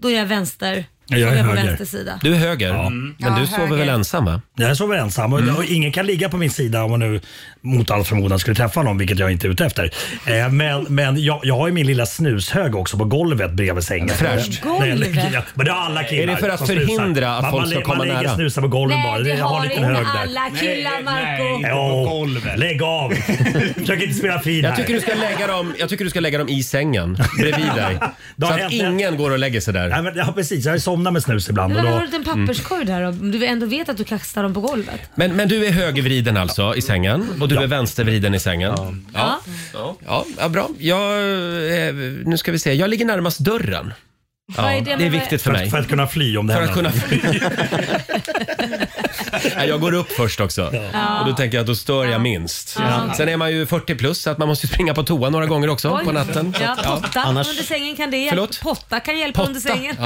då är jag vänster. Jag då är på höger. vänster sida. Du är höger? Ja. Men du Ja, sover höger. väl ensam va? Jag sover ensam Mm. och, och ingen kan ligga på min sida om man nu mot all förmodan skulle träffa någon, vilket jag inte är ute efter. Eh, men men jag, jag har ju min lilla snushög också på golvet bredvid sängen. Fräscht. När jag ligger- ja, Men det har alla killar Är det för att som snusar. förhindra att man, folk man, ska komma man Man nära? ligger och snusar på golvet Nej, bara. det Jag har har en liten inte hög där. alla killar Marco. Jo, <laughs> lägg av! Försök inte spela fin Jag här. tycker, du ska lägga dem, jag tycker du ska lägga dem i sängen bredvid <laughs> dig. Då Så har att jag- ingen går och lägger sig där. Nej, men, ja, precis. Jag somnar med snus ibland. Men då- har du en papperskorg Mm. där om du ändå vet att du kastar dem på golvet? Men, men du är högervriden alltså i sängen och du är vänstervriden i sängen. Ja. Ja. Ja. bra. Jag, eh, nu ska vi se. Jag ligger närmast dörren. Vad är Ja, det det, med- är viktigt för För att- mig. för att kunna fly om det För att händer. <laughs> kunna fly. Nej, jag går upp först också. Ja. Och då tänker jag att då stör jag minst. Ja. Sen är man ju 40 plus så att man måste springa på toa några gånger också Oj. på natten. Så Ja, att- potta under sängen kan det hjälpa. Förlåt? Potta kan hjälpa under sängen.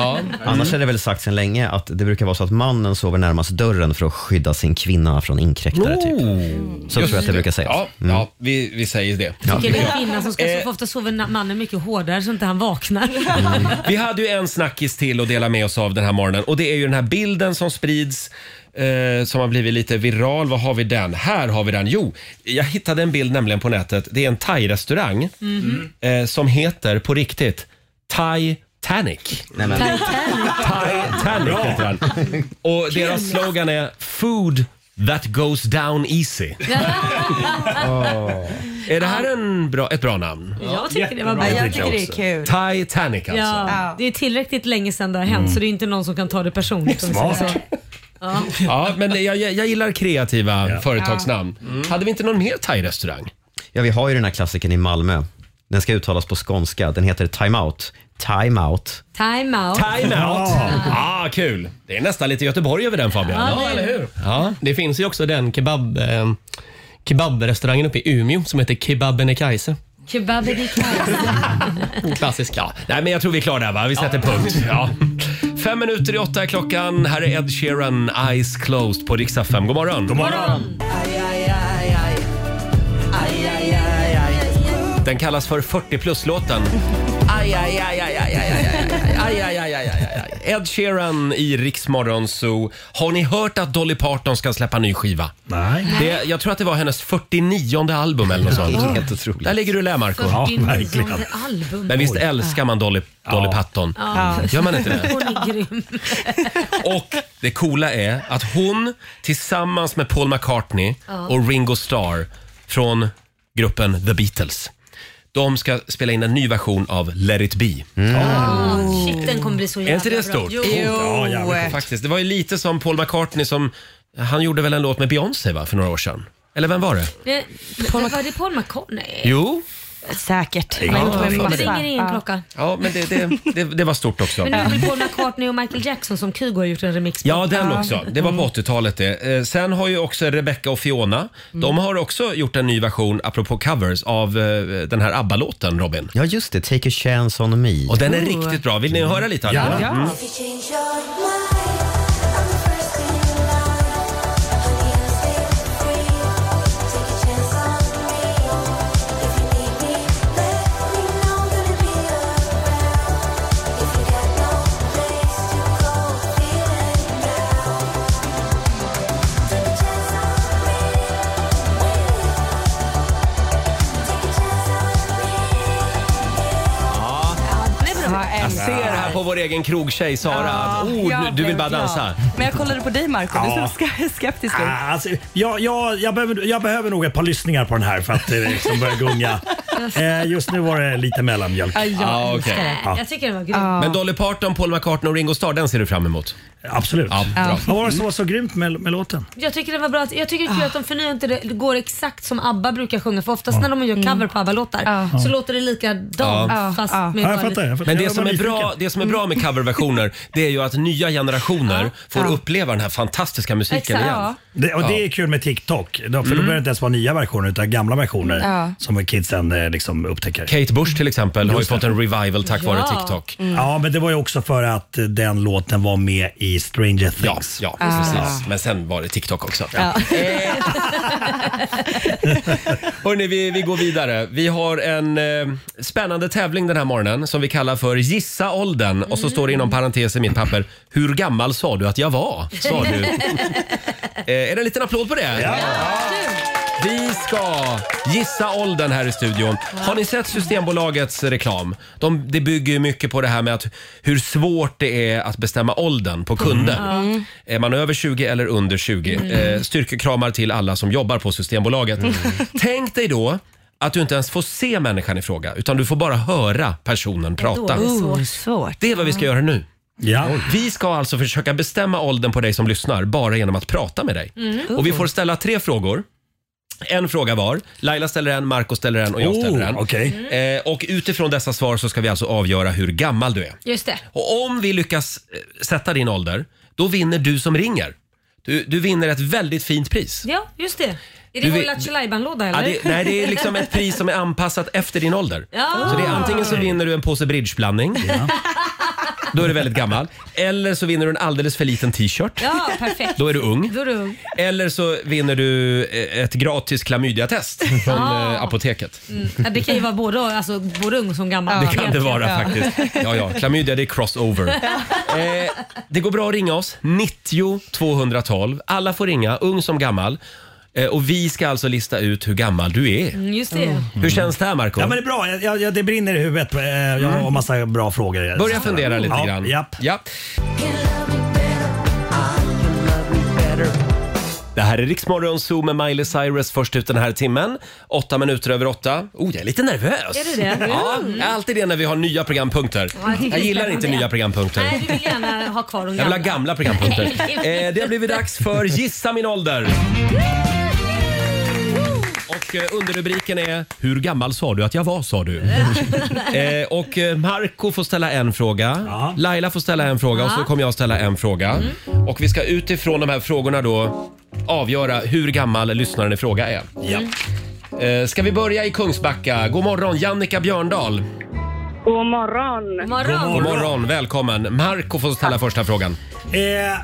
Annars är det väl sagt sedan länge att det brukar vara så att mannen sover närmast dörren för att skydda sin kvinna från inkräktare. Typ. Så tror jag att det brukar sägas. Oh, Ja, Mm. ja vi, vi säger det. Tycker det är kvinnan som ska Eh. sova. Ofta sover na- mannen mycket hårdare så inte han vaknar. Vi hade ju en snackis till att dela med oss av den här morgonen och det är ju den här bilden som sprids eh, som har blivit lite viral. Vad har vi den? Här har vi den. Jo, jag hittade en bild nämligen på nätet. Det är en thai-restaurang Mhm. eh, som heter på riktigt Thai-tanic. Titanic heter den. Och deras slogan är “Food that goes down easy”. Är det här en bra, ett bra namn? <laughs> Jag tycker det var bra. Jag tycker det är kul. Titanic alltså. Ja, det är tillräckligt länge sedan det har hänt Mm. så det är inte någon som kan ta det personligt. om vi säger Smart. så. Ja. Ja, men jag, jag, jag gillar kreativa företagsnamn. Ja. Mm. Hade vi inte någon mer thai-restaurang? Ja, vi har ju den här klassiken i Malmö. Den ska uttalas på skånska. Den heter Time Out. Time Out. Time out. Time out! Ah, kul! Det är nästan lite Göteborg över den Fabian. Ja, eller hur? Ja, det finns ju också den kebab, eh, kebabrestaurangen uppe i Umeå som heter Kebab Benekaise. Kebabedikajsa. Klassisk. Ja. Nej, men jag tror vi är klara där va? Vi sätter punkt. Ja. Fem minuter i åtta är klockan. Här är Ed Sheeran, Eyes Closed på riksdag 5. God morgon! God morgon! Den kallas för 40 plus-låten. Aj, aj, aj, aj, aj, aj, aj, aj, aj, aj, aj, aj, aj. Ed Sheeran i Riksmorgon Zoo. Har ni hört att Dolly Parton ska släppa ny skiva? Nej. Det, jag tror att det var hennes 49 album eller något sånt. Ja, helt otroligt. Där ligger du och lär Marco. 49 liksom album. Men visst älskar man Dolly, Dolly Parton? Gör man inte det? Hon är grym. Och det coola är att hon tillsammans med Paul McCartney Ja. och Ringo Starr från gruppen The Beatles. De ska spela in en ny version av Let it be. Ah, shit, den kommer bli så jävla Är inte det bra. stort? Jo. Ja, jävligt coolt faktiskt. Det var ju lite som Paul McCartney som, han gjorde väl en låt med Beyoncé va, för några år sedan? Eller vem var det? Nej, Paul Mc- var det Paul McCartney? Jo. Säkert. Ja, Men inte med det massa. ringer in Ja. klockan. Ja, men det, det, det, det var stort också. Men nu är väl Paul McCartney och Michael Jackson som Kygo har gjort en remix på. Ja, den också. Det var Mm. på 80-talet det. Eh, Sen har ju också Rebecca och Fiona, Mm. de har också gjort en ny version, apropå covers, av eh, den här ABBA-låten, Robin. Ja, just det. Take a chance on me. Och Oh. den är riktigt bra. Vill ni höra lite av den? Mm. Jag ser här på vår egen krogtjej Sara att oh, Ja, du, du vill blev bara glad. dansa. Men jag kollade på dig Marco, du Ja. såg sk- skeptisk ut. Ah, alltså, jag, jag, jag, behöver, jag behöver nog ett par lyssningar på den här för att eh, liksom börja gunga. Eh, just nu var det lite mellanmjölk. Ja, jag Ja, älskar okej. det. Ja. Jag tycker den var grym. Men Dolly Parton, Paul McCartney och Ringo Starr, den ser du fram emot? Absolut. Ja, bra. Vad var det som var så grymt med, med låten? Jag tycker det var bra. att- Jag tycker det är Ah. kul att de förnyar inte det. Det går exakt som ABBA brukar sjunga. För oftast när de gör cover på ABBA-låtar så låter det likadant Ja. fast Ah. Ja. med Ja, jag bara fattar, jag lite- Men det som, är bra, det som är bra med coverversioner det är ju att nya generationer får uppleva den här fantastiska musiken Exakt. igen. Ja. Det, och det är kul med TikTok, då- för då Mm. behöver det inte ens vara nya versioner utan gamla versioner Ja. som kidsen eh, liksom upptäcker. Kate Bush till exempel har ju Just fått det. en revival tack vare TikTok. Ja, men det var ju också för att eh, den låten var med i Stranger Ja, Things. ja Ah. precis. Men sen var det TikTok också. Ja. <laughs> Hörni, vi, vi går vidare. Vi har en eh, spännande tävling den här morgonen som vi kallar för Gissa åldern. Och så står det inom parentes i mitt papper, hur gammal sa du att jag var? Sa du. eh, är det en liten applåd på det? Ja. Vi ska gissa åldern här i studion. Har ni sett Systembolagets reklam? De, det bygger ju mycket på det här med att hur svårt det är att bestämma åldern på kunder. Mm. Är man över 20 eller under 20? Mm. Eh, styrkekramar till alla som jobbar på Systembolaget. Tänk dig då att du inte ens får se människan i fråga utan du får bara höra personen prata. svårt. Det är vad vi ska göra nu. Ja. Vi ska alltså försöka bestämma åldern på dig som lyssnar bara genom att prata med dig. Mm. Och vi får ställa tre frågor. En fråga var. Laila ställer en, Marco ställer en och jag Oh, ställer en. okej. Eh, och utifrån dessa svar så ska vi alltså avgöra hur gammal du är. Just det. Och om vi lyckas eh, sätta din ålder, då vinner du som ringer. Du, du vinner ett väldigt fint pris. Ja, just det. Är Du det vår vet- Lattjo Lajban-låda Ja, eller? det, nej, det är liksom ett pris som är anpassat efter din ålder. Ja. Så det är antingen så vinner du en påse bridgeblandning. Då är du väldigt gammal. Eller så vinner du en alldeles för liten t-shirt. Ja, perfekt. Då är du ung. Då är du ung. Eller så vinner du eh, ett gratis <laughs> klamydiatest från Ah. eh, apoteket. Mm. Ja, Det kan ju vara både, alltså, både ung som gammal. Det kan det Egentligen. vara Ja. faktiskt. Ja, ja, klamydia det är crossover. <laughs> Eh, det går bra att ringa oss, 90 212. Alla får ringa, ung som gammal. Eh, och vi ska alltså lista ut hur gammal du är. Mm, just det. Mm. Hur känns det här Marco? Ja, men det är bra. Jag, jag, det brinner i huvudet. Eh, Jag har massa bra frågor. Mm. Börja fundera lite ja, grann. Japp. Ja. Det här är Riksmorgon Zoo med Miley Cyrus först ut den här timmen. Åtta minuter över åtta. Oh, jag är lite nervös. Är du det? Ja, Mm. jag är alltid det när vi har nya programpunkter. Ja, jag tycker jag det är gillar inte spännande. nya programpunkter. Nej, du vill gärna ha kvar de Jag vill gamla. ha gamla programpunkter. <laughs> Eh, det har blivit dags för Gissa min ålder. Och eh, underrubriken är “Hur gammal sa du att jag var?” <laughs> sa du. Eh, och eh, Marco får ställa en fråga, Laila får ställa en fråga och så Ja. kommer jag ställa en fråga. Och vi ska utifrån de här frågorna då avgöra hur gammal lyssnaren i fråga är. Mm. Ja. Eh, ska vi börja i Kungsbacka? God morgon, Jannica Björndal. God morgon. God morgon, välkommen. Marco får ställa första frågan. Eh,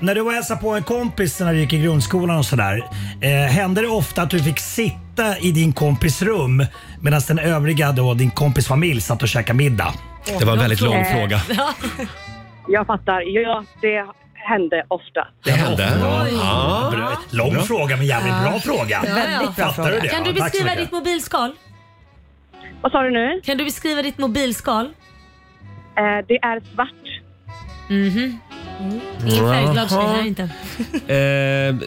när du var och hälsade på en kompis när du gick i grundskolan och sådär. Eh, hände det ofta att du fick sitta i din kompis rum medan den övriga, då, din kompis familj, satt och käkade middag? Det var en väldigt lång fråga. Jag fattar. Ja, det hände ofta. Det hände. Ja. Bra. Lång fråga men jävligt bra fråga. Fattar Du det? Kan du Ja, tack så beskriva mycket. ditt mobilskal? Vad sa du nu? Eh, Kan du beskriva ditt mobilskal? det är svart. Mhm. Ingen färgglad tjej Jaha. här inte.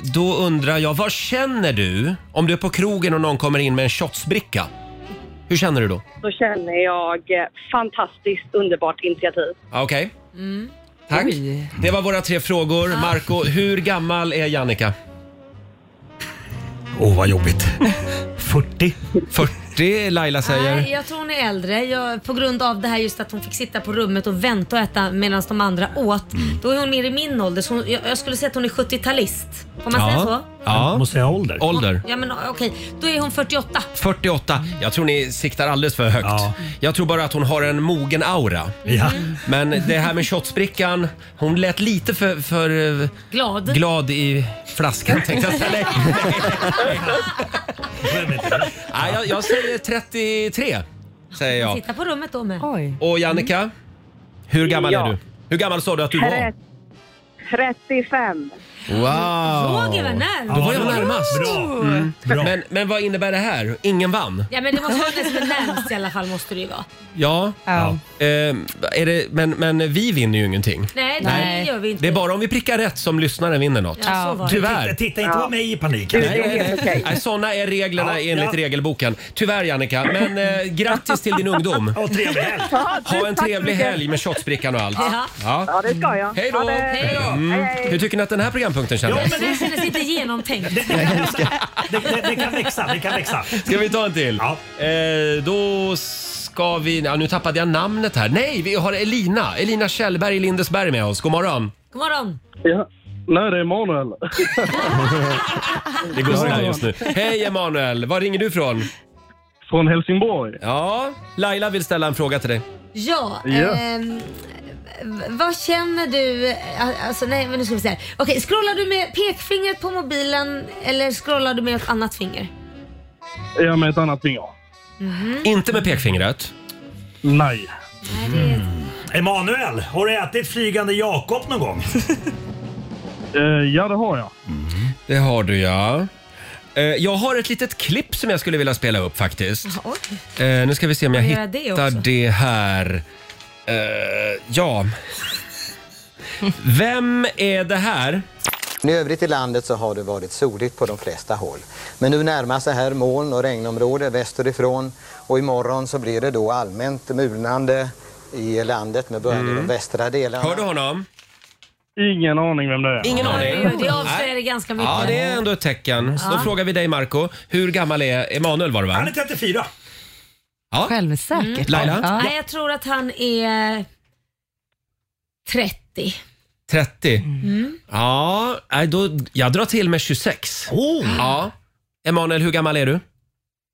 Eh, då undrar jag, vad känner du om du är på krogen och någon kommer in med en shotsbricka? Hur känner du då? Då känner jag eh, fantastiskt underbart initiativ. Ah, Okej, tack. Det var våra tre frågor. Marco, hur gammal är Jannica? Åh, oh, vad <laughs> jobbigt. 40. 40 Laila säger. Nej, jag tror hon är äldre. Jag, på grund av det här just att hon fick sitta på rummet och vänta och äta medan de andra åt. Mm. Då är hon mer i min ålder. Så hon, jag, jag skulle säga att hon är 70-talist. Får man säga så? Ja. Måste säga ålder. Ålder. Ja men okej, då är hon 48. 48. Jag tror ni siktar alldeles för högt. Jag tror bara att hon har en mogen aura. Mm. <laughs> Men det här med shotsbrickan, hon lät lite för, för eh, Glad. glad i flaskan tänkte jag säga. Nej. Nej, jag, jag säger 33, säger jag. Sitta på rummet då med. Och Jannica, hur gammal Ja. är du? Hur gammal sa du att du var? 35. Wow! Roger var närmast. Då var jag Ja, närmast. bra. Mm. Men, men vad innebär det här? Ingen vann? Ja men det måste vara den som är närmst i alla fall måste det ju vara. Ja. Ehm, är det, men, men vi vinner ju ingenting. Nej, det gör vi inte. Det är bara om vi prickar rätt som lyssnaren vinner något. Ja, så var det. Tyvärr. Titta, Eh, titta inte på mig i panik. Nej, nej, nej. Nej, Såna är reglerna Ja, enligt ja. regelboken. Tyvärr Jannica, men eh, grattis till din ungdom. Och <laughs> trevlig helg. Ha en trevlig helg med shotsbrickan och allt. Ja. Ja. det ska jag. Hej då! Hej då. Mm. Hur tycker ni att den här programpunkten kändes? Det kändes inte genomtänkt. Det, det, det kan växa, det kan växa. Ska vi ta en till? Eh, då ska vi... Ja, nu tappade jag namnet här. Nej, vi har Elina. Elina Kjellberg i Lindesberg med oss. God morgon. God morgon. Ja. Nej, det är Emanuel. Det går sådär just nu. Hej Emanuel, var ringer du ifrån? Från Helsingborg. Ja, Laila vill ställa en fråga till dig. Ja, Ja. ehm, v- vad känner du? Alltså nej men nu ska vi se här. Okej, scrollar du med pekfingret på mobilen eller scrollar du med ett annat finger? Är jag med ett annat finger? Inte med pekfingret? Nej. Emanuel, har du ätit flygande Jakob någon gång? Eh, ja, det har jag. Det har du ja. Eh, Jag har ett litet klipp som jag skulle vilja spela upp faktiskt. Oj. Eh, nu ska vi se om jag Får jag göra det hittar också? det, här. Eh, ja. Vem är det här? I övrigt i landet så har det varit soligt på de flesta håll. Men nu närmar sig här moln och regnområde västerifrån och imorgon så blir det då allmänt mulnande i landet med början i de västra delarna. Mm. Hör du honom? Ingen aning vem det är. Ingen aning. Oj, oj, Det avslöjar det ganska mycket. Ja, det är ändå ett tecken. Så Ja. Då frågar vi dig Marco, hur gammal är Emanuel var det va? Han är 34. Ja. Självsäker. Mm. Laila? Nej, jag tror att han är 30. 30? Mm. Ja, nej, då, jag drar till med 26. Ja. Emanuel, hur gammal är du?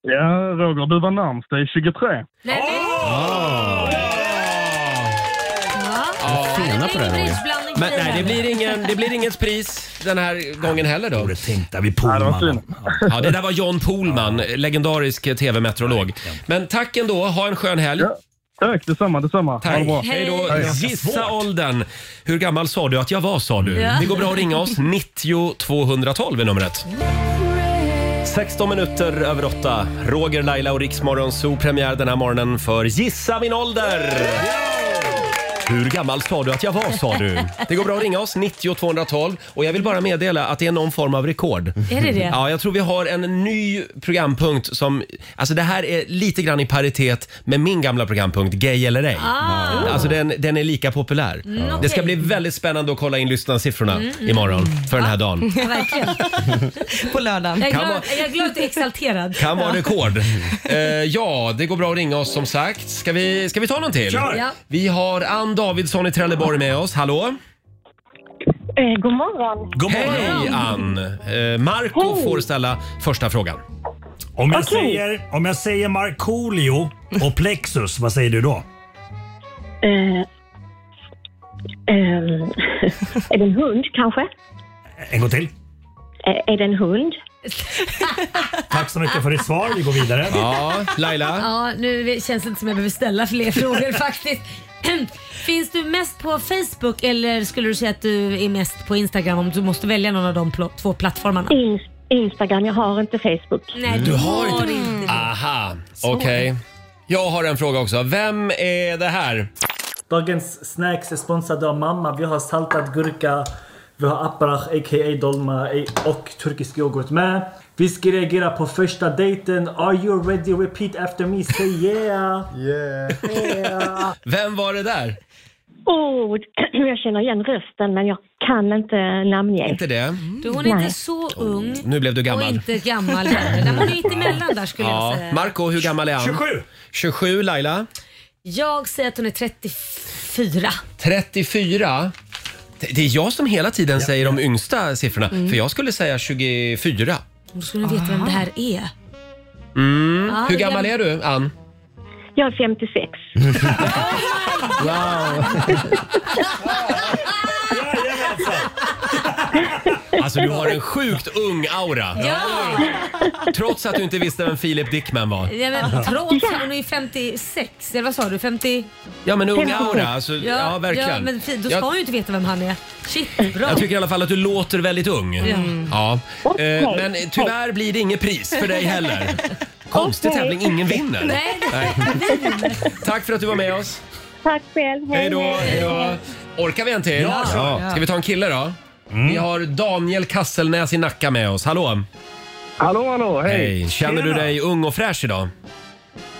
Ja, Roger, du var närmst dig 23. Nej, men, Ja. Fina på det, Roger. blandning Men, för nej, det det blir, ingen, det blir inget pris den här gången heller då. Borde tänkt vi Pohlman. Ja, det där var John Pohlman, legendarisk tv-meteorolog. Men tack ändå, ha en skön helg. Tack, detsamma, detsamma. Tack. Ha det bra. Hej då. Hej. Gissa åldern. Hur gammal sa du att jag var sa du? Ja. Det går bra att ringa oss. 90 212 är numret. 16 minuter över 8. Roger, Laila och Riksmorgon Zoo premiär den här morgonen för Gissa min ålder! Hur gammal sa du att jag var sa du? Det går bra att ringa oss, 90 212. Och jag vill bara meddela att det är någon form av rekord. Är det det? Ja, jag tror vi har en ny programpunkt som... Alltså det här är lite grann i paritet med min gamla programpunkt, Gay eller ej. Ah. Alltså den, den är lika populär. Mm, okej. Det ska bli väldigt spännande att kolla in lyssnarsiffrorna Mm, mm. imorgon för den här dagen. Ja, verkligen. På lördagen. Jag är, Kan glad, vara- jag är glad och exalterad. Kan <laughs> vara Ja. rekord. Eh, ja, det går bra att ringa oss som sagt. Ska vi, ska vi ta någon till? Kör! Ja. Vi har Ann Davidsson i Trelleborg med oss. Hallå? Eh, god morgon. Hej Ann! Eh, Marco får ställa första frågan. Om jag Okej. säger, om jag säger Markoolio och Plexus, vad säger du då? Eh, ehm, <laughs> är det en hund kanske? En gång till. Eh, är det en hund? Tack så mycket för ditt svar. Vi går vidare. Ja, Laila. Ja, nu känns det inte som jag behöver ställa fler frågor faktiskt. <clears throat> Finns du mest på Facebook eller skulle du säga att du är mest på Instagram om du måste välja någon av de pl- två plattformarna? Mm. Instagram, jag har inte Facebook. Nej, du, har inte. inte. Aha, okej. Jag har en fråga också. Vem är det här? Dagens snacks är sponsrade av mamma. Vi har saltad gurka, vi har apparach a.k.a. dolma och turkisk yoghurt med. Vi ska reagera på första dejten. Are you ready? Repeat after me. Say yeah! Yeah! Vem var det där? Oh, <clears throat> jag känner igen rösten men jag kan inte namnge. Inte det? Du, hon är Nej. inte så ung Nu blev du och gammal. inte gammal heller. Nej, men Hon är inte emellan där skulle jag Ja. säga. Marco, hur gammal är han? 27. 27, Laila? Jag säger att hon är 34. 34? Det det är jag som hela tiden säger de yngsta siffrorna, Mm. för jag skulle säga 24. Hon skulle veta vem det här är. Mm. Ja, Hur det är gammal jag- är du, Ann? Jag är 56. Ah. <laughs> Wow! Alltså du har en sjukt ung aura. Ja! Trots att du inte visste vem Philip Dickman var. Ja, men, trots att hon är 56, eller vad sa du? 50? Ja men ung 56. aura, alltså, ja, verkligen. Ja, men fi- då ska jag, hon ju inte veta vem han är. Shit, bra. jag tycker i alla fall att du låter väldigt ung. Mm. Ja. Okej. Eh, Men tyvärr blir det inget pris för dig heller. Konstig Okej. tävling, ingen vinner. Nej. Tack för att du var med oss. Tack själv. Hej då, hej då. Orkar vi en till? Ja, kör. Ska vi ta en kille då? Vi har Daniel Kasselnäs i Nacka med oss. Hallå! Hallå, hallå, hej. Känner du Tjena. dig ung och fräsch idag?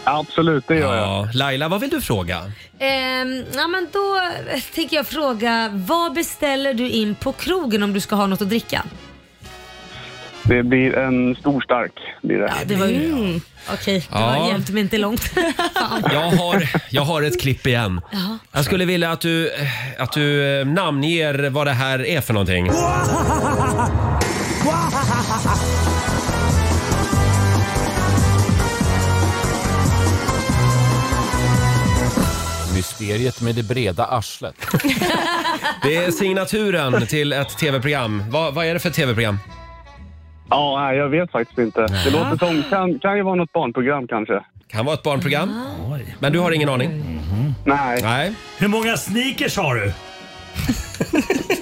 Absolut, det gör jag. Laila, vad vill du fråga? Ehm, ja, men då tänker jag fråga, vad beställer du in på krogen om du ska ha något att dricka? Det blir en stor stark. Blir det. Det var ju... Mm. Okej, det Ja. Mm. var hjälpte mig inte långt. Fan. Jag har, jag har ett klipp igen. Jaha. Jag skulle vilja att du, att du eh, namnger vad det här är för någonting. Mysteriet med det breda <laughs> arslet. Det är signaturen till ett tv-program. Vad, vad är det för tv-program? Ja, nej, jag vet faktiskt inte. Det låter Ah. som, kan, kan ju vara något barnprogram kanske. Kan vara ett barnprogram. Men du har ingen aning? Nej. Mm-hmm. Nej. Hur många sneakers har du?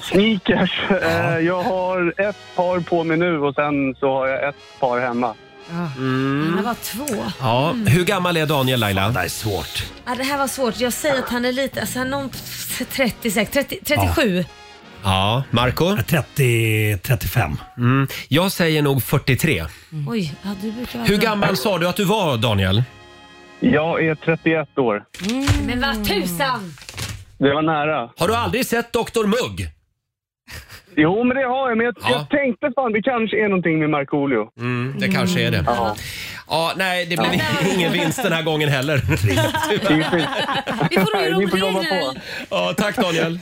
Sneakers. <laughs> Eh, Jag har ett par på mig nu och sen så har jag ett par hemma. <laughs> Det här var två. Ja, hur gammal är Daniel Laila? Det är svårt. Ja, det här var svårt. Jag säger att han är lite, alltså han är någon 36, 30, 37. Ja, Marco? 30, 35. Mm. Jag säger nog 43. Mm. Oj, ja, du brukar vara Hur bra. gammal sa du att du var Daniel? Jag är 31 år. Men vad tusan! Det var nära. Har du aldrig sett Dr Mugg? Jo, men det har jag. Men jag, jag tänkte fan det kanske är någonting med Markoolio. Mm, det kanske är det. Ja. Ja, nej, det blev <laughs> ingen vinst den här gången <laughs> heller. Vi får nog göra om reglerna. Ja, tack Daniel.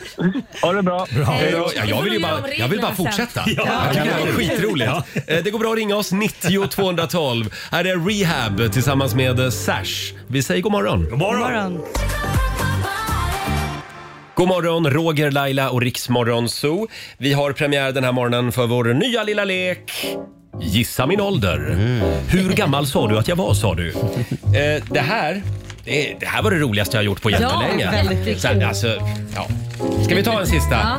Ha det bra. Hej då. Ja, Vi jag, får vill ju nog göra bara, om jag vill bara reglerna sen. fortsätta. Ja. Jag tycker det här var skitroligt. Eh, Det går bra att ringa oss 90 212. Här är Rehab tillsammans med eh, Sash. Vi säger god morgon. God morgon. God morgon, Roger, Laila och Riksmorgon Zoo. Vi har premiär den här morgonen för vår nya lilla lek. Gissa min ålder. Hur gammal sa du att jag var, sa du? Eh, det här... Det, det här var det roligaste jag gjort på Ja, jättelänge. väldigt kul. Sen, alltså, ja. Ska vi ta en sista? Ja.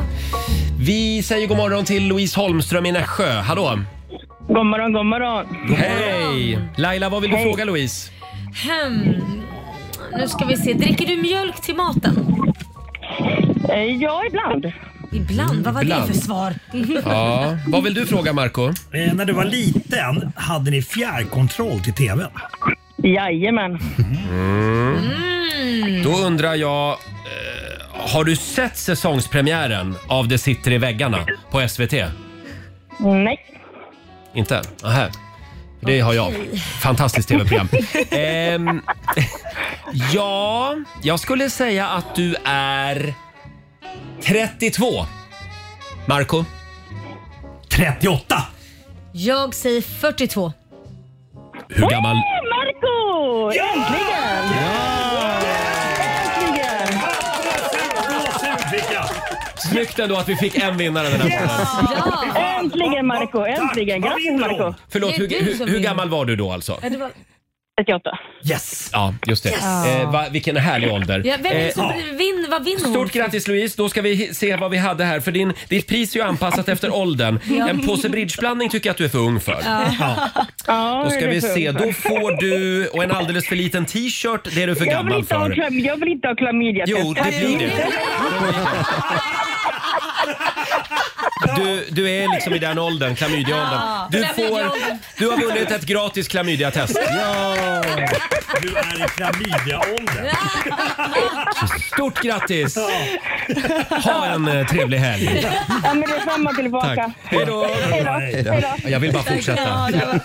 Vi säger god morgon till Louise Holmström i Nässjö. Hallå! God morgon, god morgon. Hej! Laila, vad vill du Hej. fråga Louise? Hmm. Nu ska vi se. Dricker du mjölk till maten? Eh, Ja, ibland. Ibland? Vad var Ibland. det för svar? Mhm. Ja. Vad vill du fråga Marco? Eh, när du var liten, hade ni fjärrkontroll till TVn? Jajamän. Då undrar jag, eh, har du sett säsongspremiären av Det sitter i väggarna på SVT? Nej. Inte? Aha. Det har jag. Fantastiskt <laughs> tv-program. Ehm, <laughs> ja, jag skulle säga att du är 32. Marco? 38! Jag säger 42. Hur gammal? Marco! Äntligen! Äntligen! snyggt ändå att vi fick en vinnare den här morgonen. Äntligen Marco, äntligen. Tack. Grattis Marco. Förlåt, hur, hur, hur gammal var du då alltså? 38. Yes! Ja, just det. Yes. Eh, va, vilken härlig ålder. Ja, vem är det som Eh, vinner? Vad vinner hon? Stort grattis Louise, då ska vi hi- se vad vi hade här för din, ditt pris är ju anpassat efter åldern. Ja. En påse bridgeblandning tycker jag att du är för ung för. Ja. Ja, Då det ska är vi för se, ungefär. då får du och en alldeles för liten t-shirt, det är du för jag vill gammal inte ha för. klam- Jag vill inte ha klamydiatest. Jo, det blir det. <laughs> Du, du är liksom i den åldern, klamydiaåldern. Ja. Du, får, Klamydiaåldern. du har vunnit ett gratis klamydiatest. Ja. Du är i klamydiaåldern. Stort grattis! Ha en eh, trevlig helg. Ja, men det är samma tillbaka. Tack. Hej då. Hej då. Hej då. Jag vill bara Tack. fortsätta. Ja, det, var,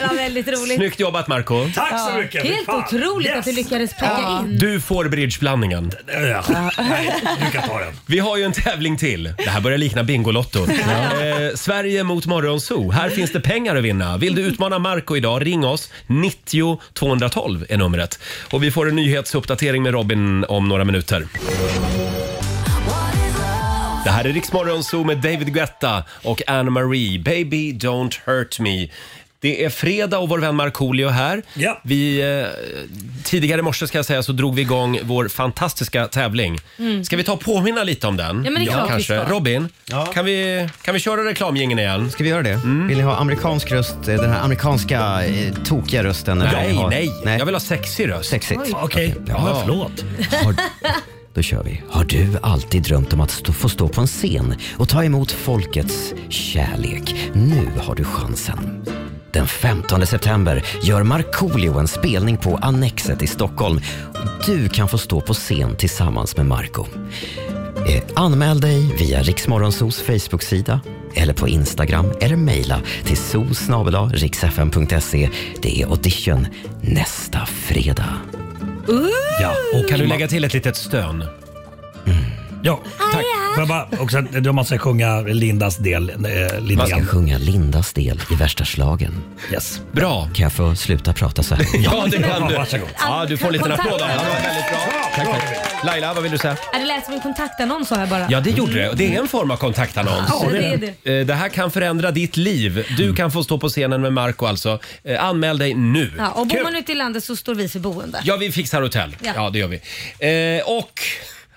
det var väldigt roligt. Snyggt jobbat Marco Tack så Ja. mycket. Helt Fan. otroligt att du lyckades pricka in. Du får bridgeblandningen. Du kan ta den. Vi har ju en tävling till. Det här börjar likna Bingolotto. Eh, Sverige mot Morgonzoo. Här finns det pengar att vinna. Vill du utmana Marco idag, ring oss. 90 212 är numret. Och vi får en nyhetsuppdatering med Robin om några minuter. Det här är Riksmorgon Zoo med David Guetta och Anne Marie. Baby don't hurt me. Det är fredag och vår vän Markoolio är här. Vi, eh, tidigare i morse ska jag säga så drog vi igång vår fantastiska tävling. Mm. Ska vi ta och påminna lite om den? Ja, men det är klart vi kanske. ska. Robin, kan, vi, kan vi köra reklamgingen igen? Ska vi göra det? Mm. Vill ni ha amerikansk röst, eh, den här amerikanska eh, tokiga rösten? Nej, har, nej. Jag vill ha sexig röst. Sexigt. Oj. Okej. Ja, förlåt. Har, då kör vi. Har du alltid drömt om att stå, få stå på en scen och ta emot folkets kärlek? Nu har du chansen. Den 15 september gör Markoolio en spelning på Annexet i Stockholm. Du kan få stå på scen tillsammans med Marco. Eh, Anmäl dig via Riksmorgonsos Facebook-sida eller på Instagram eller mejla till zoo.riksfm.se. Det är audition nästa fredag. Ja, och Kan du lägga till ett litet stön? Ja, tack. Får jag bara, också, att då man ska sjunga Lindas del eh, lite Man ska grann. sjunga Lindas del i värsta slagen. Yes. Bra. Kan jag få sluta prata så här? Ja, det kan du. Varsågod. Ja, du får en liten applåd av mig. Det var väldigt bra. Tack, tack. Laila, vad vill du säga? Ja, Det lät som en kontaktannons har jag bara. Ja, det gjorde det. Och Det är en form av kontaktannons. Mm. Ja, det är Eh, Det här kan förändra ditt liv. Du kan få stå på scenen med Marco alltså. Eh, Anmäl dig nu. Ja, och Kul. bor man ute i landet så står vi för boende. Ja, vi fixar hotell. Ja, Ja. det gör vi. Eh, och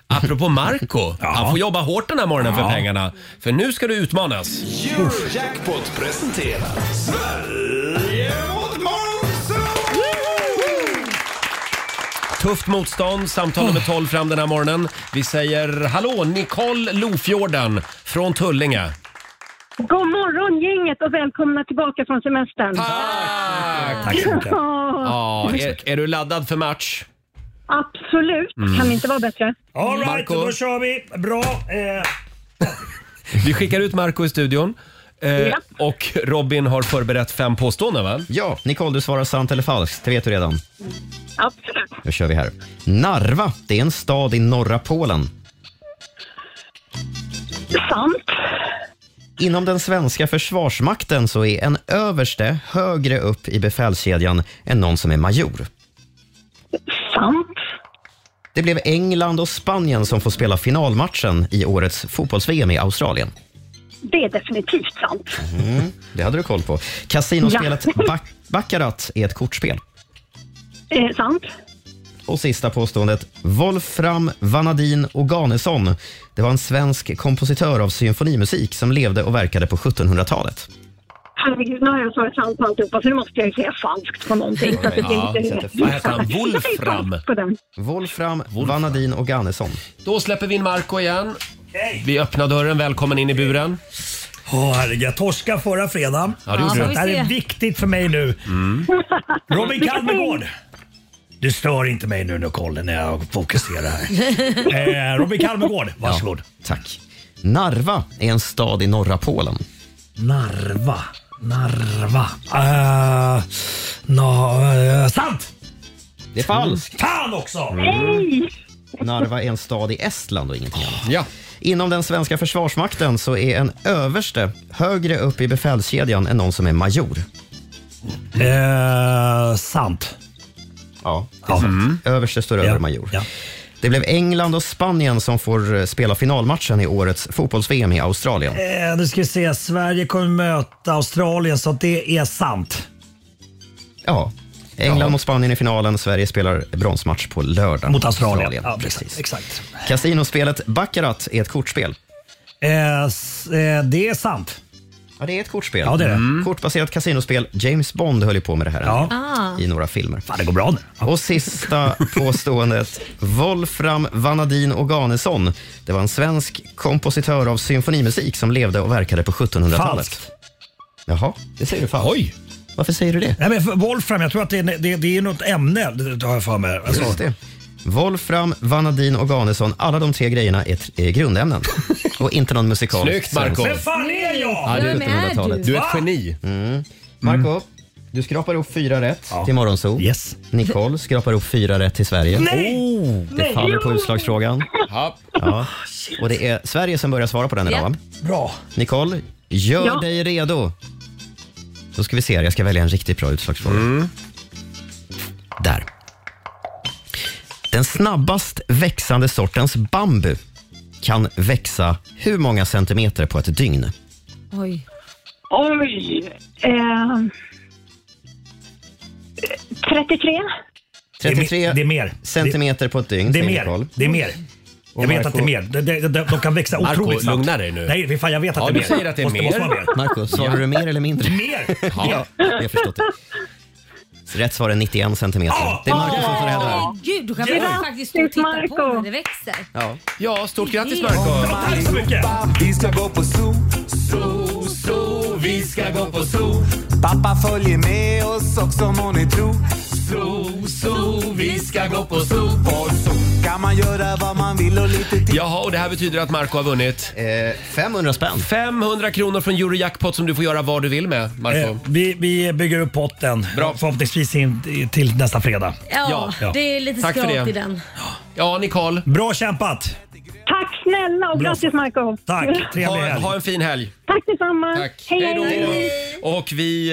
apropå <laughs> Marco han får jobba hårt den här morgonen Ja. för pengarna. För nu ska du utmanas. Eurojackpot presenterar Sverige mot Tufft motstånd, samtal nummer 12 fram den här morgonen. Vi säger hallå, Nicole Lofjorden från Tullinge. God morgon gänget och välkomna tillbaka från semestern. Tack så mycket. Ja. <laughs> Ja, är, är du laddad för match? Absolut, Mm. kan inte vara bättre. All right, Marco. då kör vi. Bra. Eh, Vi skickar ut Marco i studion. Eh, Ja. Och Robin har förberett fem påståenden va? Ja, Nicole du svarar sant eller falskt, det vet du redan. Absolut. Då kör vi här. Narva, det är en stad i norra Polen. Sant. Inom den svenska försvarsmakten så är en överste högre upp i befälskedjan än någon som är major. Sant. Det blev England och Spanien som får spela finalmatchen i årets fotbolls-VM i Australien. Det är definitivt sant. Mm, det hade du koll på. Kasinospelet Ja. Bac- Baccarat är ett kortspel. Eh, sant. Och sista påståendet. Wolfram Vanadin Oganesson. Det var en svensk kompositör av symfonimusik som levde och verkade på 1700-talet. Herregud, nu har jag svarat sant på alltihopa så nu måste jag ju säga falskt på någonting. så att det blir Ja, lite- så att det- vad heter han? Jag säger Wolfram. falskt på den. Wolfram, Vanadin Oganesson. Då släpper vi in Marco igen. Vi öppnar dörren. Välkommen in i buren. Åh herregud, jag torskade förra fredagen. Ja, det gjorde Så du. Mm. det här är viktigt för mig nu. Robin Kalmegård! Du stör inte mig nu Nicole när jag fokuserar <laughs> här. eh, Robin Kalmegård, varsågod. Tack. Narva är en stad i norra Polen. Narva. Narva. Uh, no, eh, sant! Det är falskt. Fan också! Mm. Narva är en stad i Estland och ingenting annat. Ja. Inom den svenska försvarsmakten så är en överste högre upp i befälskedjan än någon som är major. Eh, sant. Eh, Mm. Mm. Ja, det är sant. Överste står över major. Det blev England och Spanien som får eh, spela finalmatchen i årets fotbolls-VM i Australien. Eh, nu ska vi se, Sverige kommer möta Australien så att det är sant. Ja. England mot Spanien i finalen. Sverige spelar bronsmatch på lördag. Mot Australien. Ja, precis. Exakt. Kasinospelet Baccarat är ett kortspel. Eh, s- eh, det är sant. Ja, det är ett kortspel. Mm. Ja, det Mm. är det. Kortbaserat kasinospel. James Bond höll ju på med det här Ah. i några filmer. Fan, det går bra nu. Och sista påståendet. Wolfram Vanadin Oganesson. Det var en svensk kompositör av symfonimusik som levde och verkade på 1700-talet. Falskt. Jaha, det säger du falskt. Oj! Varför säger du det? Nej, men för- Wolfram, jag tror att det är, det, det är något ämne, det- det har jag för mig. Alltså, Just det. Wolfram, Vanadin och Ganesson, alla de tre grejerna är, t- <laughs> är grundämnen. Och inte någon musikal. Snyggt, Marco. svensk. Vem fan är jag? Ja, det är 1700-talet. Du är ett geni. Mm. Marco, du skrapar upp fyra rätt till Morgonzoo. Yes. Nicole skrapar upp fyra rätt till Sverige. Nej! Oh, det Nej! faller på utslagsfrågan. Ja. Och det är Sverige som börjar svara på den idag, Ja. va? Bra. Nicole, gör Ja. dig redo. Då ska vi se här. Jag ska välja en riktigt bra utslagsfråga. Mm. Där. Den snabbast växande sortens bambu kan växa hur många centimeter på ett dygn? Oj. Oj. ehm, 33. 33 Det är mer. centimeter på ett dygn, Det är säger mer. Nicole. Det är mer. Och Jag vet Marco- att det är mer. De, de, de, de kan växa Marco, otroligt snabbt. lugna dig nu. Nej, fy fan, jag vet Ja, att det är du mer. säger att det är måste, mer. Måste vara mer. Marco, svarar du mer eller <laughs> mindre? Mer! Ja, jag har förstått det. Så Rätt svar är 91 centimeter. Det är Marco som får det här. där. Gud, då kan Ja. man faktiskt stå och titta på när det växer. Ja. Ja, stort grattis Ja. Marco Tack så mycket! Vi ska gå på zoo, zoo, zoo. Vi ska gå på zoo. Pappa följer med oss också må ni tro. Zoo, zoo. Vi ska gå på zoo. På zoo kan man göra vad man vill och lite till. Jaha, och det här betyder att Marco har vunnit? 500 Eh, spänn. 500 kronor från Eurojackpot som du får göra vad du vill med, Marco. Eh, vi, vi bygger upp potten Bra. förhoppningsvis in till nästa fredag. Ja, det är lite Tack för skralt det. i den. Ja, Nicole. Bra kämpat! Tack snälla och Bra. grattis Marco. Tack. Trevlig Ha, helg. ha en fin helg. Tack detsamma. Hej, Hej hej. då! Och vi,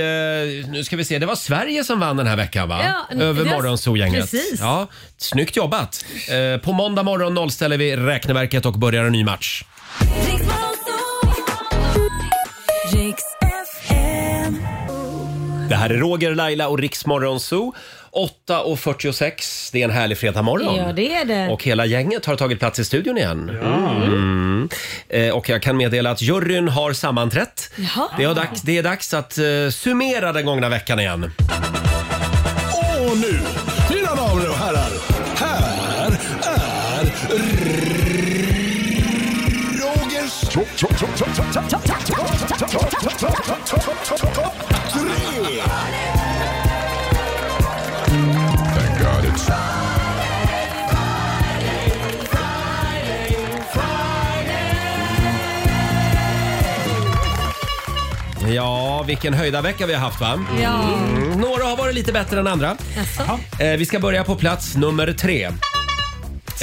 eh, nu ska vi se, det var Sverige som vann den här veckan va? Ja, n- Över det- morgonsolgänget. precis. Ja, snyggt jobbat! Eh, på måndag morgon nollställer vi räkneverket och börjar en ny match. Det här är Roger, Laila och Riksmorgonzoo. 8.46, det är en härlig fredagmorgon. Ja, det är det. Och hela gänget har tagit plats i studion igen. Mm. Eh, och jag kan meddela att juryn har sammanträtt. Jaha. Det är, dags, det är dags att eh, summera den gångna veckan igen. Och nu, mina damer och herrar, här är Rogers... Tre! Ja, vilken höjda vecka vi har haft va? Ja. Mm. Några har varit lite bättre än andra. Jaså? Eh, vi ska börja på plats nummer tre.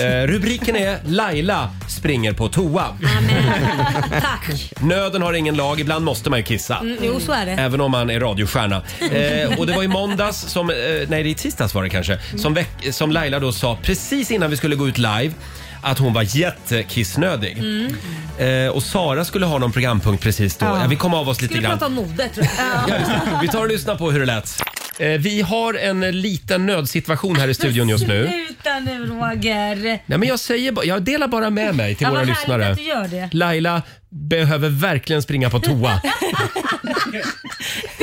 Eh, rubriken är Laila springer på toa. Tack. Nöden har ingen lag, ibland måste man ju kissa. Mm, jo, så är det. Även om man är radiostjärna. Eh, och det var i måndags, som, eh, nej det är i tisdags var det kanske, som, veck, som Laila då sa precis innan vi skulle gå ut live att hon var jättekissnödig. Mm. Eh, och Sara skulle ha någon programpunkt precis då. Ja. vi kom av oss lite Skulle grann. prata om mode tror jag. Ja, just det. Vi tar och lyssnar på hur det lät. Eh, vi har en liten nödsituation här i studion just nu. Sluta nu Roger. Nej, men jag, säger, ba- jag delar bara med mig till Ja, våra vad lyssnare. härligt att du gör det. Laila behöver verkligen springa på <laughs> toa. Det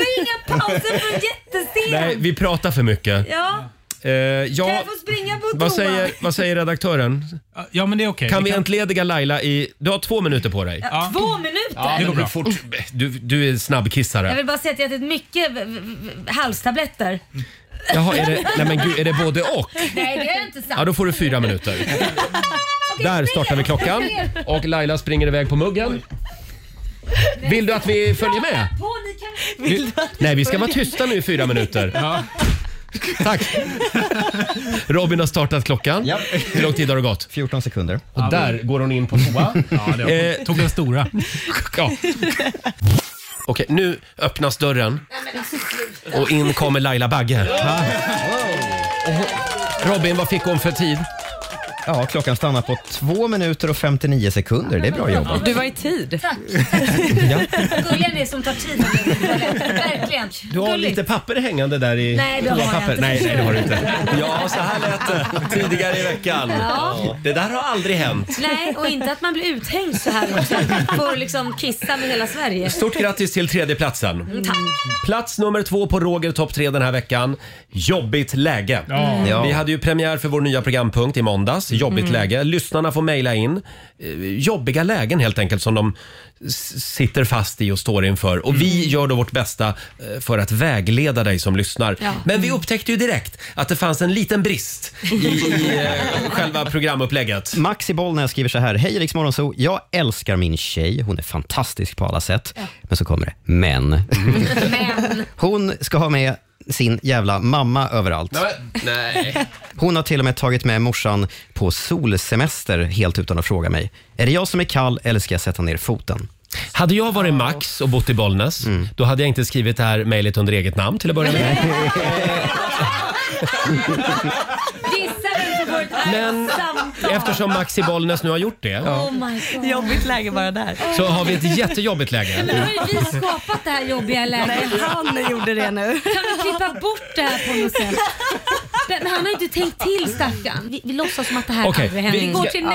är inga pauser från jättesent. Nej, vi pratar för mycket. Ja. Eh, ja, Kan jag få springa på toa? vad, säger, vad säger redaktören? Ja, men det är okej. Kan Vi Eh, vi kan- entlediga Laila i... Du har två minuter på dig. Ja, Två minuter? men du Fort, du, du är Jag snabbkissare. vill bara säga att jag har ätit mycket v- v- v- halstabletter. Jaha, är det, nej men gud, är det både och? Nej, det är inte sant. Ja, då får du fyra minuter. Där startar vi klockan och Laila springer iväg på muggen. Vill du att vi följer med? På, ni kan... Vi, nej, vi ska vara tysta nu i fyra minuter. Tack! Robin har startat klockan. <laughs> Hur lång tid har det gått? 14 sekunder. Och där går hon in på toa. Ja, det tog den stora. Ja. Okej, nu öppnas dörren och in kommer Laila Bagge. Robin, vad fick hon för tid? Ja, klockan stannar på 2 minuter och 59 sekunder. Det är bra jobbat. Du var i tid. Tack. Ja. Gulliga ni som tar tid. Verkligen. Du har Gulligt. lite papper hängande där i Nej, det har jag papper. inte. Nej, nej, det har du inte. Ja, så här lät det tidigare i veckan. Ja. Det där har aldrig hänt. Nej, och inte att man blir uthängd så här också. Får liksom kissa med hela Sverige. Stort grattis till tredjeplatsen. Mm, Tack. Plats nummer två på Roger topp tre den här veckan. Jobbigt läge. Ja. Ja. Vi hade ju premiär för vår nya programpunkt i måndags. Jobbigt Mm. läge. Lyssnarna får mejla in eh, jobbiga lägen helt enkelt som de s- sitter fast i och står inför. Och Mm. vi gör då vårt bästa eh, för att vägleda dig som lyssnar. Ja. Men vi upptäckte ju direkt att det fanns en liten brist i, i <laughs> eh, själva programupplägget. Max i Bollnäs skriver så här. Hej Rix Morgonzoo. Jag älskar min tjej. Hon är fantastisk på alla sätt. Men så kommer det. Men. Hon ska ha med sin jävla mamma överallt. Nej. Hon har till och med tagit med morsan på solsemester helt utan att fråga mig. Är det jag som är kall eller ska jag sätta ner foten? Hade jag varit Max och bott i Bollnäs, då hade jag inte skrivit det här mejlet under eget namn till att börja med. Gissa vem som får ett Men samtal. <laughs> Eftersom Maxi Bollnäs nu har gjort det Oh my God. Jobbigt läge bara där. så har vi ett jättejobbigt Men läge. har ju vi skapat det här jobbiga läget. Nej, han gjorde det nu. Kan vi klippa bort det här på något sätt? Men han har ju inte tänkt till stackarn. Vi, vi låtsas som att det här Okej, aldrig händer. vi- Vi går till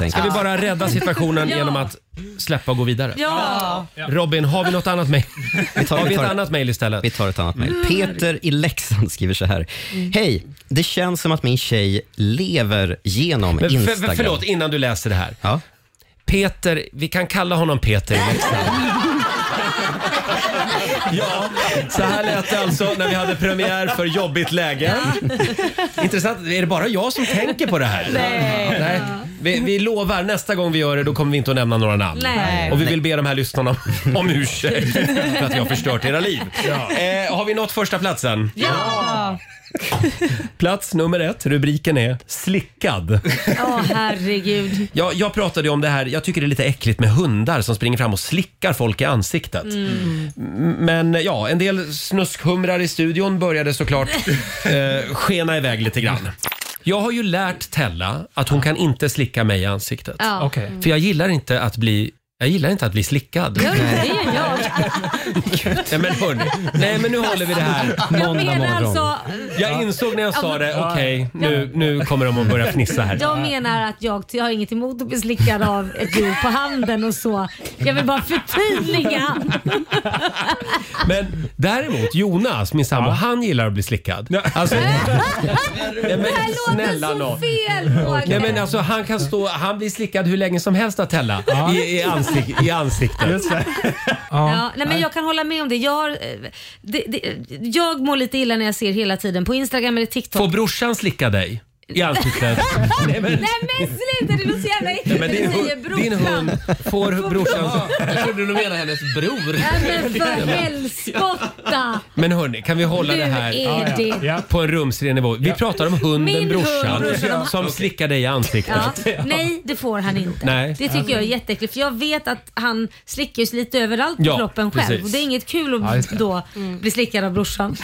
nästa. Ska vi bara rädda situationen Ja. genom att släppa och gå vidare? Ja. Robin, har vi något annat mejl? Har vi ett annat mejl istället? Vi tar ett annat mejl. Mm. Peter i Leksand skriver så här. Hej, det känns som att min tjej lever genom Men för, Instagram. för, förlåt, innan du läser det här. Ja. Peter, vi kan kalla honom Peter i <laughs> Leksand. Ja, så här lät det alltså när vi hade premiär för Jobbigt läge. Intressant, är det bara jag som tänker på det här? Nej. Vi, vi lovar, nästa gång vi gör det då kommer vi inte att nämna några namn. Nej. Och vi vill be de här lyssnarna om- om ursäkt för att jag har förstört era liv. Eh, har vi nått första platsen? Ja. Plats nummer ett, rubriken är “Slickad”. Ja, herregud. Ja, jag pratade ju om det här, jag tycker det är lite äckligt med hundar som springer fram och slickar folk i ansiktet. Mm. M- Men ja, en del snuskhumrar i studion började såklart <laughs> eh, skena iväg lite grann. Jag har ju lärt Tella att hon kan inte slicka mig i ansiktet. Ja. Okej. För jag gillar inte att bli jag gillar inte att bli slickad. Det gör jag. Nej men hörni, nej men nu håller vi det här. Jag menar alltså... Jag insåg när jag sa det, okej nu, nu kommer de att börja fnissa här. Jag menar att jag, jag har inget emot att bli slickad av ett djur på handen och så. Jag vill bara förtydliga. Men däremot Jonas, min sambo, han gillar att bli slickad. Alltså, det här låter snälla så nån. fel Roger. Nej, men alltså, han kan stå, han blir slickad hur länge som helst att Tella. I, i, ansik, i ansiktet. Ja, nej, men jag kan hålla med om det. Jag, har, eh, det, det. jag mår lite illa när jag ser hela tiden på Instagram eller TikTok. Får brorsan slicka dig i ansiktet? nej, men... sluta, det låter så jävla Nej, äckligt men din, när du hund, din säger brorsan. hund får brorsan... Jag trodde du menade hennes bror. Nej men för helskotta! Men hörni, kan vi hålla Nu det här är det- Ja. på en rumsren nivå? Vi pratar om hunden Min brorsan hund, brorsan. som slickar dig i ansiktet. Ja, nej, det får han inte. Nej. Det tycker jag är jätteäckligt för jag vet att han slickar sig lite överallt på Ja, kroppen själv. precis. Och det är inget kul Ja, just att det. då bli slickad <laughs> av brorsan.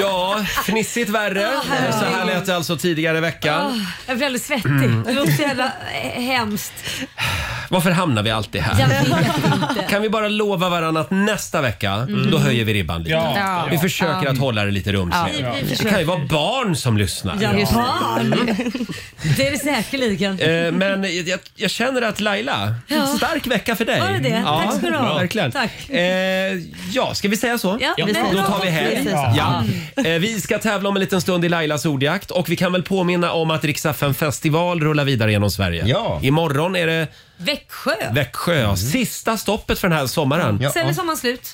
Ja, fnissigt värre. Åh, herregud. Så här lät det alltså tidigare i veckan. Åh, jag blir alldeles svettig. Mm. Det låter så jävla eh, hemskt. Varför hamnar vi alltid Jag här? vet inte. Kan vi bara lova varandra att nästa vecka, Mm. då höjer vi ribban lite. Ja. Ja. Vi försöker Ja. att hålla det lite rumsligt. Ja. Vi- vi Det kan ju vara barn som lyssnar. Japan! Det är det säkerligen. Eh, Men jag, jag känner att Laila, Ja. stark vecka för dig. Var det det? Tack ska du ha. Verkligen. Tack. Eh, ja, ska vi säga så? Ja, vi säger Då så. tar vi helg. Precis. Ja. Eh, Vi ska tävla om en liten stund i Lailas ordjakt och vi kan väl påminna om att Riksaffen festival rullar vidare genom Sverige. Ja. Imorgon är det Växjö. Växjö. Sista stoppet för den här sommaren. Sen är sommaren slut.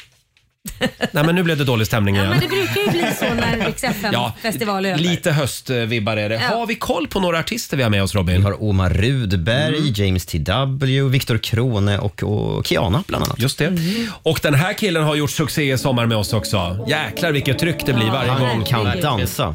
Nej, men nu blev det dålig stämning Ja, igen. men det brukar ju bli så när Rix Ja, FM-festival är över. Lite höstvibbar är det. Ja. Har vi koll på några artister vi har med oss Robin? Vi har Omar Rudberg, Mm. James T.W., Viktor Krone och, och Kiana bland annat. Just det. Och den här killen har gjort succé i sommar med oss också. Jäklar vilket tryck det blir varje Han gång. kan Verkligen. dansa.